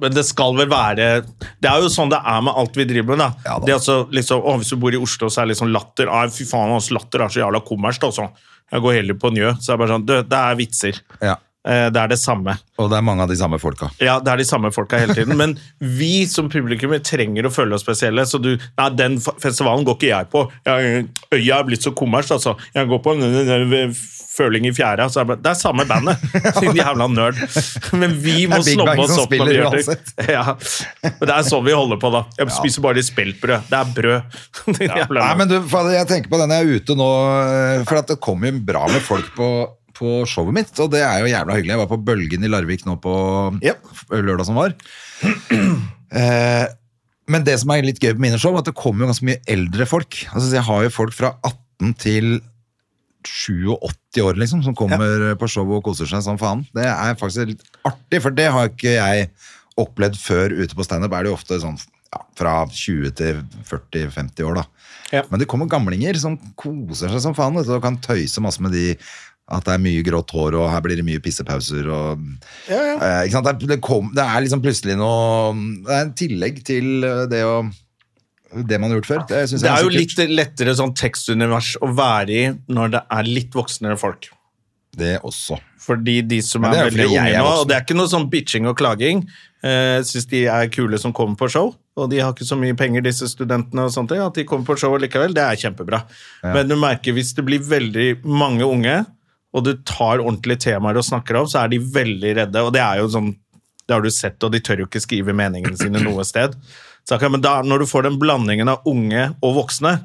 Speaker 1: men det skal vel være Det er jo sånn det er med alt vi driver med. da,
Speaker 2: Ja da.
Speaker 1: Det er altså liksom, å, Hvis du bor i Oslo, så er det liksom latter ah, Fy faen, altså, latter er så jævla kommersielt, altså. Jeg går heller på Njø. Så er det bare sånn du, Det er vitser.
Speaker 2: Ja,
Speaker 1: Eh, Det er det samme.
Speaker 2: Og det er mange av de samme folka.
Speaker 1: Ja, det er de samme folka hele tiden. Men vi som publikum vi trenger å føle oss spesielle. Så du Nei, den f- festivalen går ikke jeg på. Jeg, øya er blitt så kommers, altså. Jeg går på en- en- en- en Føling i fjæra. Så er det, bare- det er samme bandet, din jævla nerd. Men vi må
Speaker 2: Det er Big
Speaker 1: snobbe
Speaker 2: Bang
Speaker 1: oss
Speaker 2: som
Speaker 1: opp når vi
Speaker 2: spiller
Speaker 1: gjør ting. Ja. Men det er sånn vi holder på, da. Jeg spiser bare speltbrød. Det er brød. Din jævla
Speaker 2: Nei,
Speaker 1: nerd.
Speaker 2: men du, fader, jeg tenker på den jeg er ute nå, øh, for at det kommer jo bra med folk på, på showet mitt, og det er jo jævla hyggelig. Jeg var på Bølgen i Larvik nå på lørdag som var. Eh, men det som er litt gøy på mine show, er at det kommer jo ganske mye eldre folk. Altså, jeg har jo folk fra 18 til 87 år, liksom, som kommer på show og koser seg som faen. Det er faktisk litt artig, for det har ikke jeg opplevd før ute på standup. Er det jo ofte sånn ja, fra 20 til 40-50 år, da.
Speaker 1: Ja.
Speaker 2: Men det kommer gamlinger som koser seg som faen vet du, og kan tøyse masse med de at det er mye grått hår, og her blir det mye pissepauser. Og, Eh, ikke sant? Det, er- det, kom, det er liksom plutselig noe Det er en tillegg til eh, det, å, det man har gjort før. Det, synes
Speaker 1: Det
Speaker 2: jeg
Speaker 1: er
Speaker 2: så
Speaker 1: jo
Speaker 2: kult.
Speaker 1: litt lettere sånn tekstunivers å være i når det er litt voksnere folk.
Speaker 2: Det også.
Speaker 1: Fordi de som
Speaker 2: Men
Speaker 1: er,
Speaker 2: det er jo
Speaker 1: veldig
Speaker 2: fordi jeg
Speaker 1: unge
Speaker 2: er
Speaker 1: nå,
Speaker 2: voksen.
Speaker 1: og det er ikke noe sånn bitching og klaging, eh, syns de er kule som kommer på show, og de har ikke så mye penger, disse studentene og sånt, at de kommer på show likevel, det er kjempebra. Men du merker hvis det blir veldig mange unge, og du tar ordentlige temaer og snakker om, så er de veldig redde, og det er jo sånn, det har du sett, og de tør jo ikke skrive meningene sine noe sted. Så, ok, men da, når du får den blandingen av unge og voksne,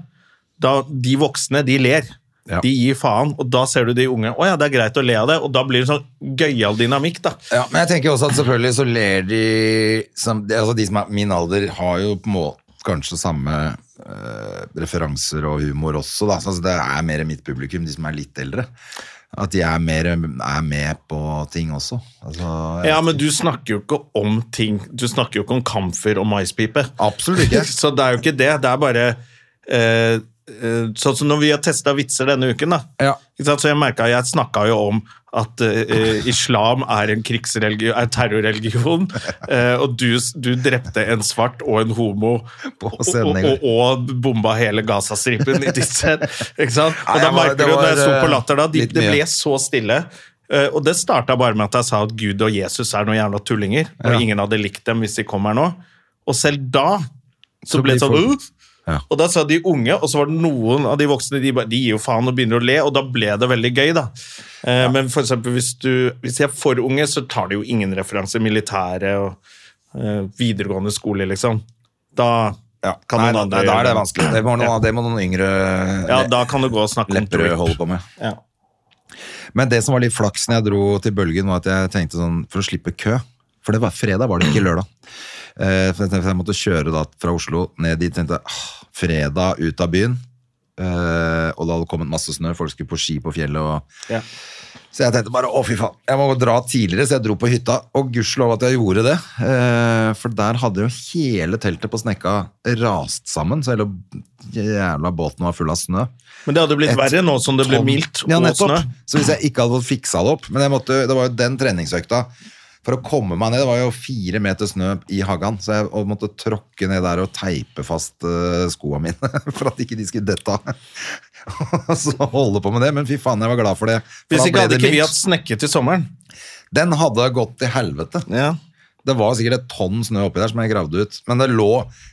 Speaker 1: da, de voksne, de ler.
Speaker 2: Ja.
Speaker 1: De gir faen, og da ser du de unge. Å ja, det er greit å le av det, og da blir det sånn gøyal dynamikk, da.
Speaker 2: Ja, men jeg tenker også at selvfølgelig så ler de som, de- Altså de som er min alder, har jo på en måte kanskje samme eh, referanser og humor også, da. Så altså, det er mer mitt publikum, de som er litt eldre. At de er mer er med på ting også. Altså, jeg-
Speaker 1: Ja, men du snakker jo ikke om ting. Du snakker jo ikke om kamfer og maispipe.
Speaker 2: Absolutt ikke.
Speaker 1: Så det er jo ikke det. Det er bare eh, eh, Sånn som når vi har testa vitser denne uken, da.
Speaker 2: Ja.
Speaker 1: Ikke sant? Så jeg merket, jeg snakka jo om at eh, islam er en krigsreligion, er terrorreligion, eh, og du, du drepte en svart og en homo
Speaker 2: På
Speaker 1: og, og,
Speaker 2: sending.
Speaker 1: og, og bomba hele Gazastripen i ditt sett. Ikke sant? Og
Speaker 2: Nei,
Speaker 1: da
Speaker 2: jeg var-
Speaker 1: merker
Speaker 2: det
Speaker 1: du, når jeg
Speaker 2: var,
Speaker 1: sto på
Speaker 2: eh,
Speaker 1: latter da, de,
Speaker 2: litt
Speaker 1: det
Speaker 2: mye.
Speaker 1: ble så stille. Eh, Og det starta bare med at jeg sa at Gud og Jesus er noen jævla tullinger, og
Speaker 2: Ja.
Speaker 1: ingen hadde likt dem hvis de kom her nå. Og selv da
Speaker 2: Så
Speaker 1: så, ble
Speaker 2: blir
Speaker 1: det sånn
Speaker 2: folk-
Speaker 1: «Uff!»
Speaker 2: Ja.
Speaker 1: Og da sa de unge, og så var det noen av de voksne de, bare, de gir jo faen og begynner å le, og da ble det veldig gøy, da. Eh, Men for eksempel hvis, du, hvis de er for unge, så tar de jo ingen referanse. Militære og eh, videregående skole, liksom. Da
Speaker 2: Ja.
Speaker 1: kan
Speaker 2: Nei,
Speaker 1: noen
Speaker 2: da-
Speaker 1: andre
Speaker 2: Da
Speaker 1: gjøre
Speaker 2: er det
Speaker 1: det.
Speaker 2: vanskelig. Det må noen, det må noen yngre
Speaker 1: Ja, da kan du gå og snakke om
Speaker 2: lepperød holde på med.
Speaker 1: Ja.
Speaker 2: Men det som var litt flaks når jeg dro til Bølgen, var at jeg tenkte sånn, for å slippe kø. For det var fredag, var det ikke lørdag. Eh, for jeg, tenkte, jeg måtte kjøre da fra Oslo ned dit, tenkte jeg, «Ah, fredag ut av byen. Eh, og da hadde det kommet masse snø, folk skulle på ski på fjellet. Og...
Speaker 1: Ja.
Speaker 2: Så jeg tenkte bare, å fy faen, jeg må dra tidligere, så jeg dro på hytta. Og gudskjelov at jeg gjorde det. Eh, for der hadde jo hele teltet på snekka rast sammen, så hele jævla båten var full av snø.
Speaker 1: Men det hadde blitt
Speaker 2: Et
Speaker 1: verre nå som det ble mildt
Speaker 2: Ja,
Speaker 1: og
Speaker 2: nettopp.
Speaker 1: snø.
Speaker 2: Så hvis jeg ikke hadde fått fiksa det opp Men jeg måtte, det var jo den treningsøkta. For å komme meg ned, Det var jo fire meter snø i hagen, så jeg og måtte tråkke ned der og teipe fast eh, skoa mine for at ikke de skulle dette av. Og så holde på med det, men fy faen, jeg var glad for det. For
Speaker 1: Hvis
Speaker 2: da
Speaker 1: ikke
Speaker 2: ble
Speaker 1: hadde
Speaker 2: det
Speaker 1: ikke vi
Speaker 2: mildt.
Speaker 1: hatt snekke til sommeren.
Speaker 2: Den hadde gått til helvete. Det var sikkert et tonn snø oppi der som jeg gravde ut. Men det lå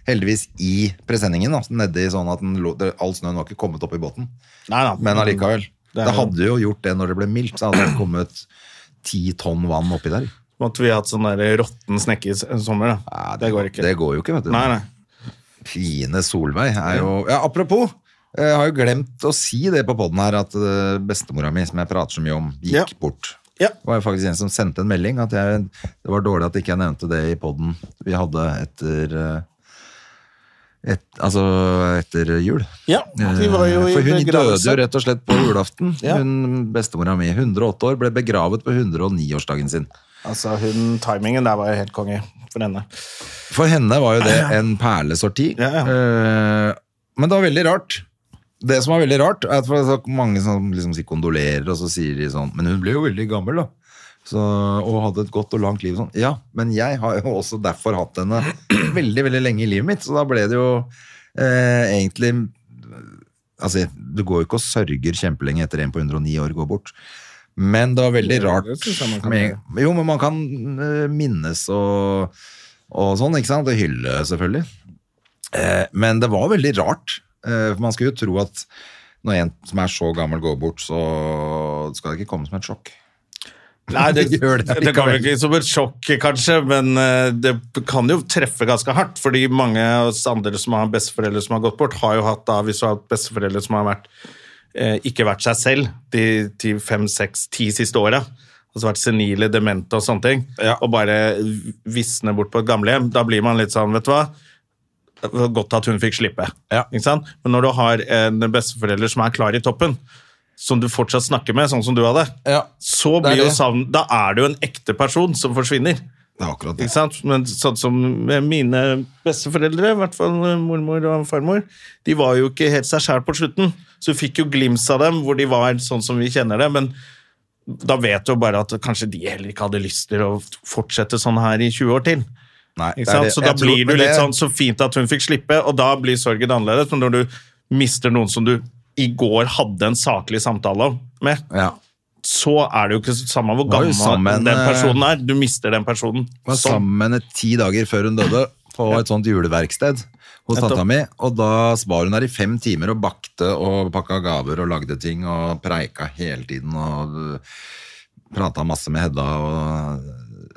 Speaker 2: heldigvis i presenningen. Da, nedi sånn at den lå, det, All snøen var ikke kommet opp i båten.
Speaker 1: Nei, nei.
Speaker 2: Men allikevel.
Speaker 1: er
Speaker 2: Det
Speaker 1: jo-
Speaker 2: hadde jo gjort det når det ble mildt, så hadde det kommet ti tonn vann oppi der.
Speaker 1: måtte vi hatt sånn der råtten snekke i s- sommer. da.
Speaker 2: Nei,
Speaker 1: det går ikke.
Speaker 2: Det går jo ikke, vet du.
Speaker 1: Nei, nei.
Speaker 2: Fine Solveig er jo ja, Apropos, jeg har jo glemt å si det på poden her, at eh, bestemora mi, som jeg prater så mye om, gikk
Speaker 1: Ja.
Speaker 2: bort.
Speaker 1: Ja.
Speaker 2: Det var jo faktisk en som sendte en melding at jeg, det var dårlig at ikke jeg nevnte det i poden vi hadde etter eh, et, Altså etter jul.
Speaker 1: Ja, vi var jo i
Speaker 2: Eh, For hun døde jo
Speaker 1: begravelse.
Speaker 2: rett og slett på julaften.
Speaker 1: Ja.
Speaker 2: Hun Bestemora mi, 108 år, ble begravet på 109-årsdagen sin.
Speaker 1: Altså, hun, timingen der var jo helt konge for henne.
Speaker 2: For henne var jo det en perlesorti.
Speaker 1: Ja, ja.
Speaker 2: Eh, Men det var veldig rart. Det som var veldig rart, er at for det er så mange som liksom sier kondolerer, og så sier de sånn Men hun ble jo veldig gammel, da. Så, og hadde et godt og langt liv. og Sånn. Ja, men jeg har jo også derfor hatt henne veldig veldig lenge i livet mitt, så da ble det jo eh, egentlig Altså, du går jo ikke og sørger kjempelenge etter en på 109 år går bort. Men det var veldig rart.
Speaker 1: det synes jeg man kan
Speaker 2: med, jo, men man kan eh, minnes og, og sånn, ikke sant? Og hylle, selvfølgelig. Eh, men det var veldig rart. Eh, for man skulle jo tro at når en som er så gammel går bort, så skal det ikke komme som et sjokk.
Speaker 1: Nei, det, det,
Speaker 2: Gjør det
Speaker 1: kan jo
Speaker 2: likevel.
Speaker 1: ikke som et sjokk, kanskje, men eh, det kan jo treffe ganske hardt. Fordi mange av oss andre som har besteforeldre som har gått bort, har jo hatt da, hvis du har hatt besteforeldre som har vært, eh, ikke vært seg selv de ti, fem, seks, ti siste åra. Altså vært senile, demente og sånne ting. Og bare visne bort på et gamlehjem. Da blir man litt sånn, vet du hva. Det var Godt at hun fikk slippe. Ikke sant? Men når du har en besteforelder som er klar i toppen, som du fortsatt snakker med, sånn som du hadde, så
Speaker 2: Det er
Speaker 1: blir jo
Speaker 2: det.
Speaker 1: savn Da er det jo en ekte person som forsvinner.
Speaker 2: Det er akkurat det.
Speaker 1: Ikke sant? Men sånn som med mine besteforeldre, i hvert fall mormor og farmor, de var jo ikke helt seg sjæl på slutten. Så du fikk jo glims av dem hvor de var sånn som vi kjenner det, men da vet du jo bare at kanskje de heller ikke hadde lyst til å fortsette sånn her i 20 år til.
Speaker 2: Nei, det
Speaker 1: Ikke
Speaker 2: er
Speaker 1: sant?
Speaker 2: det.
Speaker 1: Så da
Speaker 2: Jeg tror-
Speaker 1: blir du
Speaker 2: men
Speaker 1: litt
Speaker 2: det-
Speaker 1: sånn så fint at hun fikk slippe, og da blir sorgen annerledes. Men når du mister noen som du i går hadde en saklig samtale om- med,
Speaker 2: ja.
Speaker 1: så er det jo ikke samme hvor
Speaker 2: Var jo
Speaker 1: gammel
Speaker 2: sammen,
Speaker 1: den
Speaker 2: eh,
Speaker 1: personen er. Du mister den personen.
Speaker 2: var
Speaker 1: Sånn.
Speaker 2: sammen med henne ti dager før hun døde på et sånt juleverksted hos
Speaker 1: Nettopp.
Speaker 2: tanta mi, og da var hun der i fem timer og bakte og pakka gaver og lagde ting og preika hele tiden og prata masse med Hedda og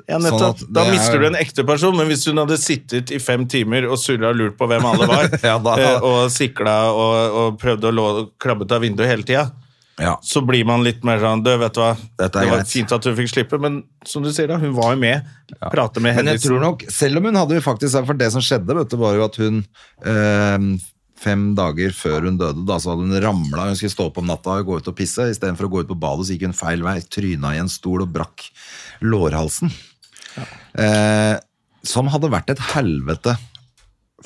Speaker 1: Ja,
Speaker 2: Sånn
Speaker 1: nettopp.
Speaker 2: at
Speaker 1: da
Speaker 2: det er-
Speaker 1: mister du en ekte person, men hvis hun hadde sittet i fem timer og surra og lurt på hvem alle var,
Speaker 2: Ja, da-
Speaker 1: eh, og sikla og, og prøvde å lå, krabbe ut av vinduet hele tida,
Speaker 2: Ja.
Speaker 1: så blir man litt mer sånn Du, vet du hva, det
Speaker 2: Dette er
Speaker 1: var
Speaker 2: greit.
Speaker 1: fint at hun fikk slippe, men som du sier, da, hun var jo med. Prate med
Speaker 2: Men jeg
Speaker 1: Henriksen.
Speaker 2: tror nok, selv om hun hadde jo faktisk For det som skjedde, vet du, var jo at hun eh, Fem dager før hun døde, da, så hadde hun ramla. Hun skulle stå opp om natta og gå ut og pisse. Istedenfor å gå ut på badet, så gikk hun feil vei. Tryna i en stol og brakk lårhalsen. Eh, som hadde vært et helvete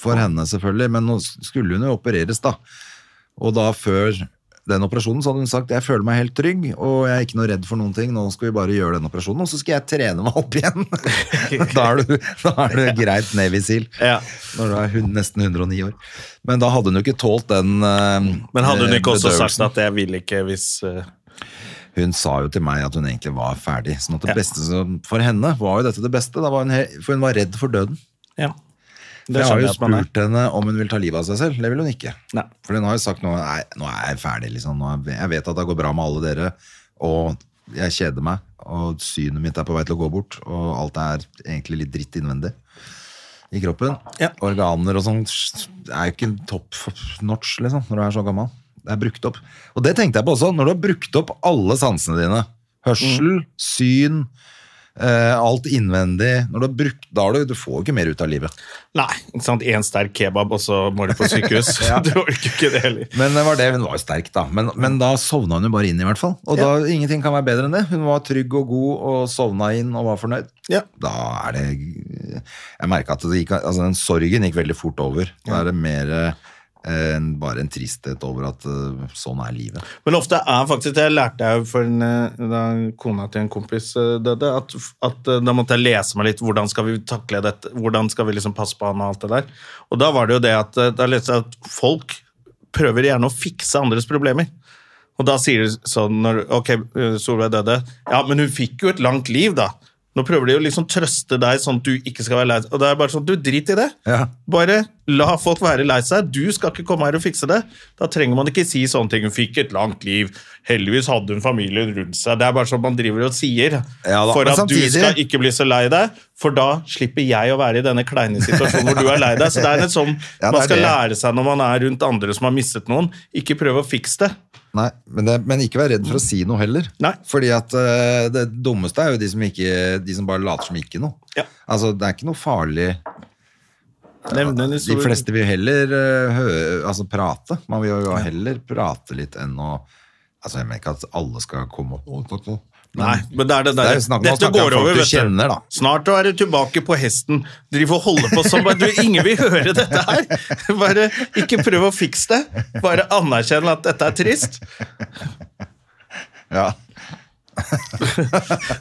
Speaker 2: for henne, selvfølgelig. Men nå skulle hun jo opereres, da. Og da før den operasjonen så hadde hun sagt jeg føler meg helt trygg, og jeg er ikke noe redd for noen ting. Nå skal vi bare gjøre den operasjonen, og så skal jeg trene meg opp igjen. da, er du, da er du greit Navy Seal
Speaker 1: Ja.
Speaker 2: når du er hun, nesten 109 år. Men da hadde hun jo ikke tålt den eh,
Speaker 1: Men hadde hun ikke også sagt
Speaker 2: bedøvelsen.
Speaker 1: at 'jeg vil ikke' hvis eh,
Speaker 2: Hun sa jo til meg at hun egentlig var ferdig. Sånn at det beste som- for henne var jo dette det beste, da var hun he for hun var redd for døden.
Speaker 1: Ja.
Speaker 2: jeg har
Speaker 1: skjønner
Speaker 2: jo
Speaker 1: jeg at man er.
Speaker 2: spurt henne om hun vil ta livet av seg selv. Det vil hun ikke.
Speaker 1: Nei.
Speaker 2: For hun har jo sagt nå, nei, nå er jeg ferdig, liksom. Nå er, jeg vet at det går bra med alle dere, og jeg kjeder meg, og synet mitt er på vei til å gå bort, og alt er egentlig litt dritt innvendig i kroppen.
Speaker 1: Ja.
Speaker 2: Organer og sånn er jo ikke topp notch, liksom, når du er så gammel. Det er brukt opp. Og det tenkte jeg på også, når du har brukt opp alle sansene dine, hørsel,
Speaker 1: Mm.
Speaker 2: syn, eh, alt innvendig, når du har brukt, da har du, du får jo ikke mer ut av livet.
Speaker 1: Nei, ikke sant. Én sterk kebab, og så må du på sykehus. Du orker ikke det heller.
Speaker 2: Men det var det, hun var jo sterk da Men, men da sovna hun jo bare inn i hvert fall Og da, ingenting kan være bedre enn det Hun var trygg og god og sovna inn og var fornøyd
Speaker 1: Ja.
Speaker 2: Da er det Jeg merket at det gikk, altså, den sorgen gikk veldig fort over Da er det mer eh, enn bare en tristhet over at eh, sånn er livet
Speaker 1: Men ofte er faktisk Det lærte jeg jo for en, eh, da kona til en kompis eh, døde. At, at eh, Da måtte jeg lese meg litt hvordan skal vi takle dette, hvordan skal vi liksom passe på han og alt det der. Og da var det jo det at, eh, da leste jeg at folk prøver gjerne å fikse andres problemer. Og da sier de sånn når, Ok, eh, Solveig døde. Ja, men hun fikk jo et langt liv, da. Nå prøver de å liksom trøste deg sånn at du ikke skal være lei deg. Og da er det bare sånn Du, drit i det.
Speaker 2: Ja.
Speaker 1: Bare La folk være lei seg. Du skal ikke komme her og fikse det. Da trenger man ikke si sånne ting. Hun fikk et langt liv. Heldigvis hadde hun familien rundt seg. Det er bare sånn man driver og sier
Speaker 2: Ja da,
Speaker 1: for
Speaker 2: men
Speaker 1: at
Speaker 2: samtidig-
Speaker 1: du skal ikke bli så lei deg. For da slipper jeg å være i denne kleine situasjonen hvor du er lei deg. Så det er en sånn
Speaker 2: Ja, det er
Speaker 1: man skal
Speaker 2: det.
Speaker 1: lære seg når man er rundt andre som har mistet noen. Ikke prøve å fikse det.
Speaker 2: Nei, men, det, men ikke vær redd for å si noe heller.
Speaker 1: Nei.
Speaker 2: Fordi at eh, det dummeste er jo de som, ikke, de som bare later som ikke noe.
Speaker 1: Ja.
Speaker 2: Altså, det er ikke noe farlig.
Speaker 1: Nevne en
Speaker 2: De
Speaker 1: historie.
Speaker 2: fleste vil heller eh, hø- altså, prate. Man vil jo heller prate litt enn å Altså, jeg mener ikke at alle skal komme opp
Speaker 1: Nei, men det er det
Speaker 2: Det
Speaker 1: der.
Speaker 2: er jo snakk om å
Speaker 1: Dette
Speaker 2: snakke om
Speaker 1: går
Speaker 2: folk
Speaker 1: over,
Speaker 2: du
Speaker 1: vet du.
Speaker 2: kjenner, da.
Speaker 1: Snart er du tilbake på hesten. Driv og holde på som du, Ingen vil høre dette her! Bare ikke prøv å fikse det. Bare anerkjenn at dette er trist.
Speaker 2: Ja.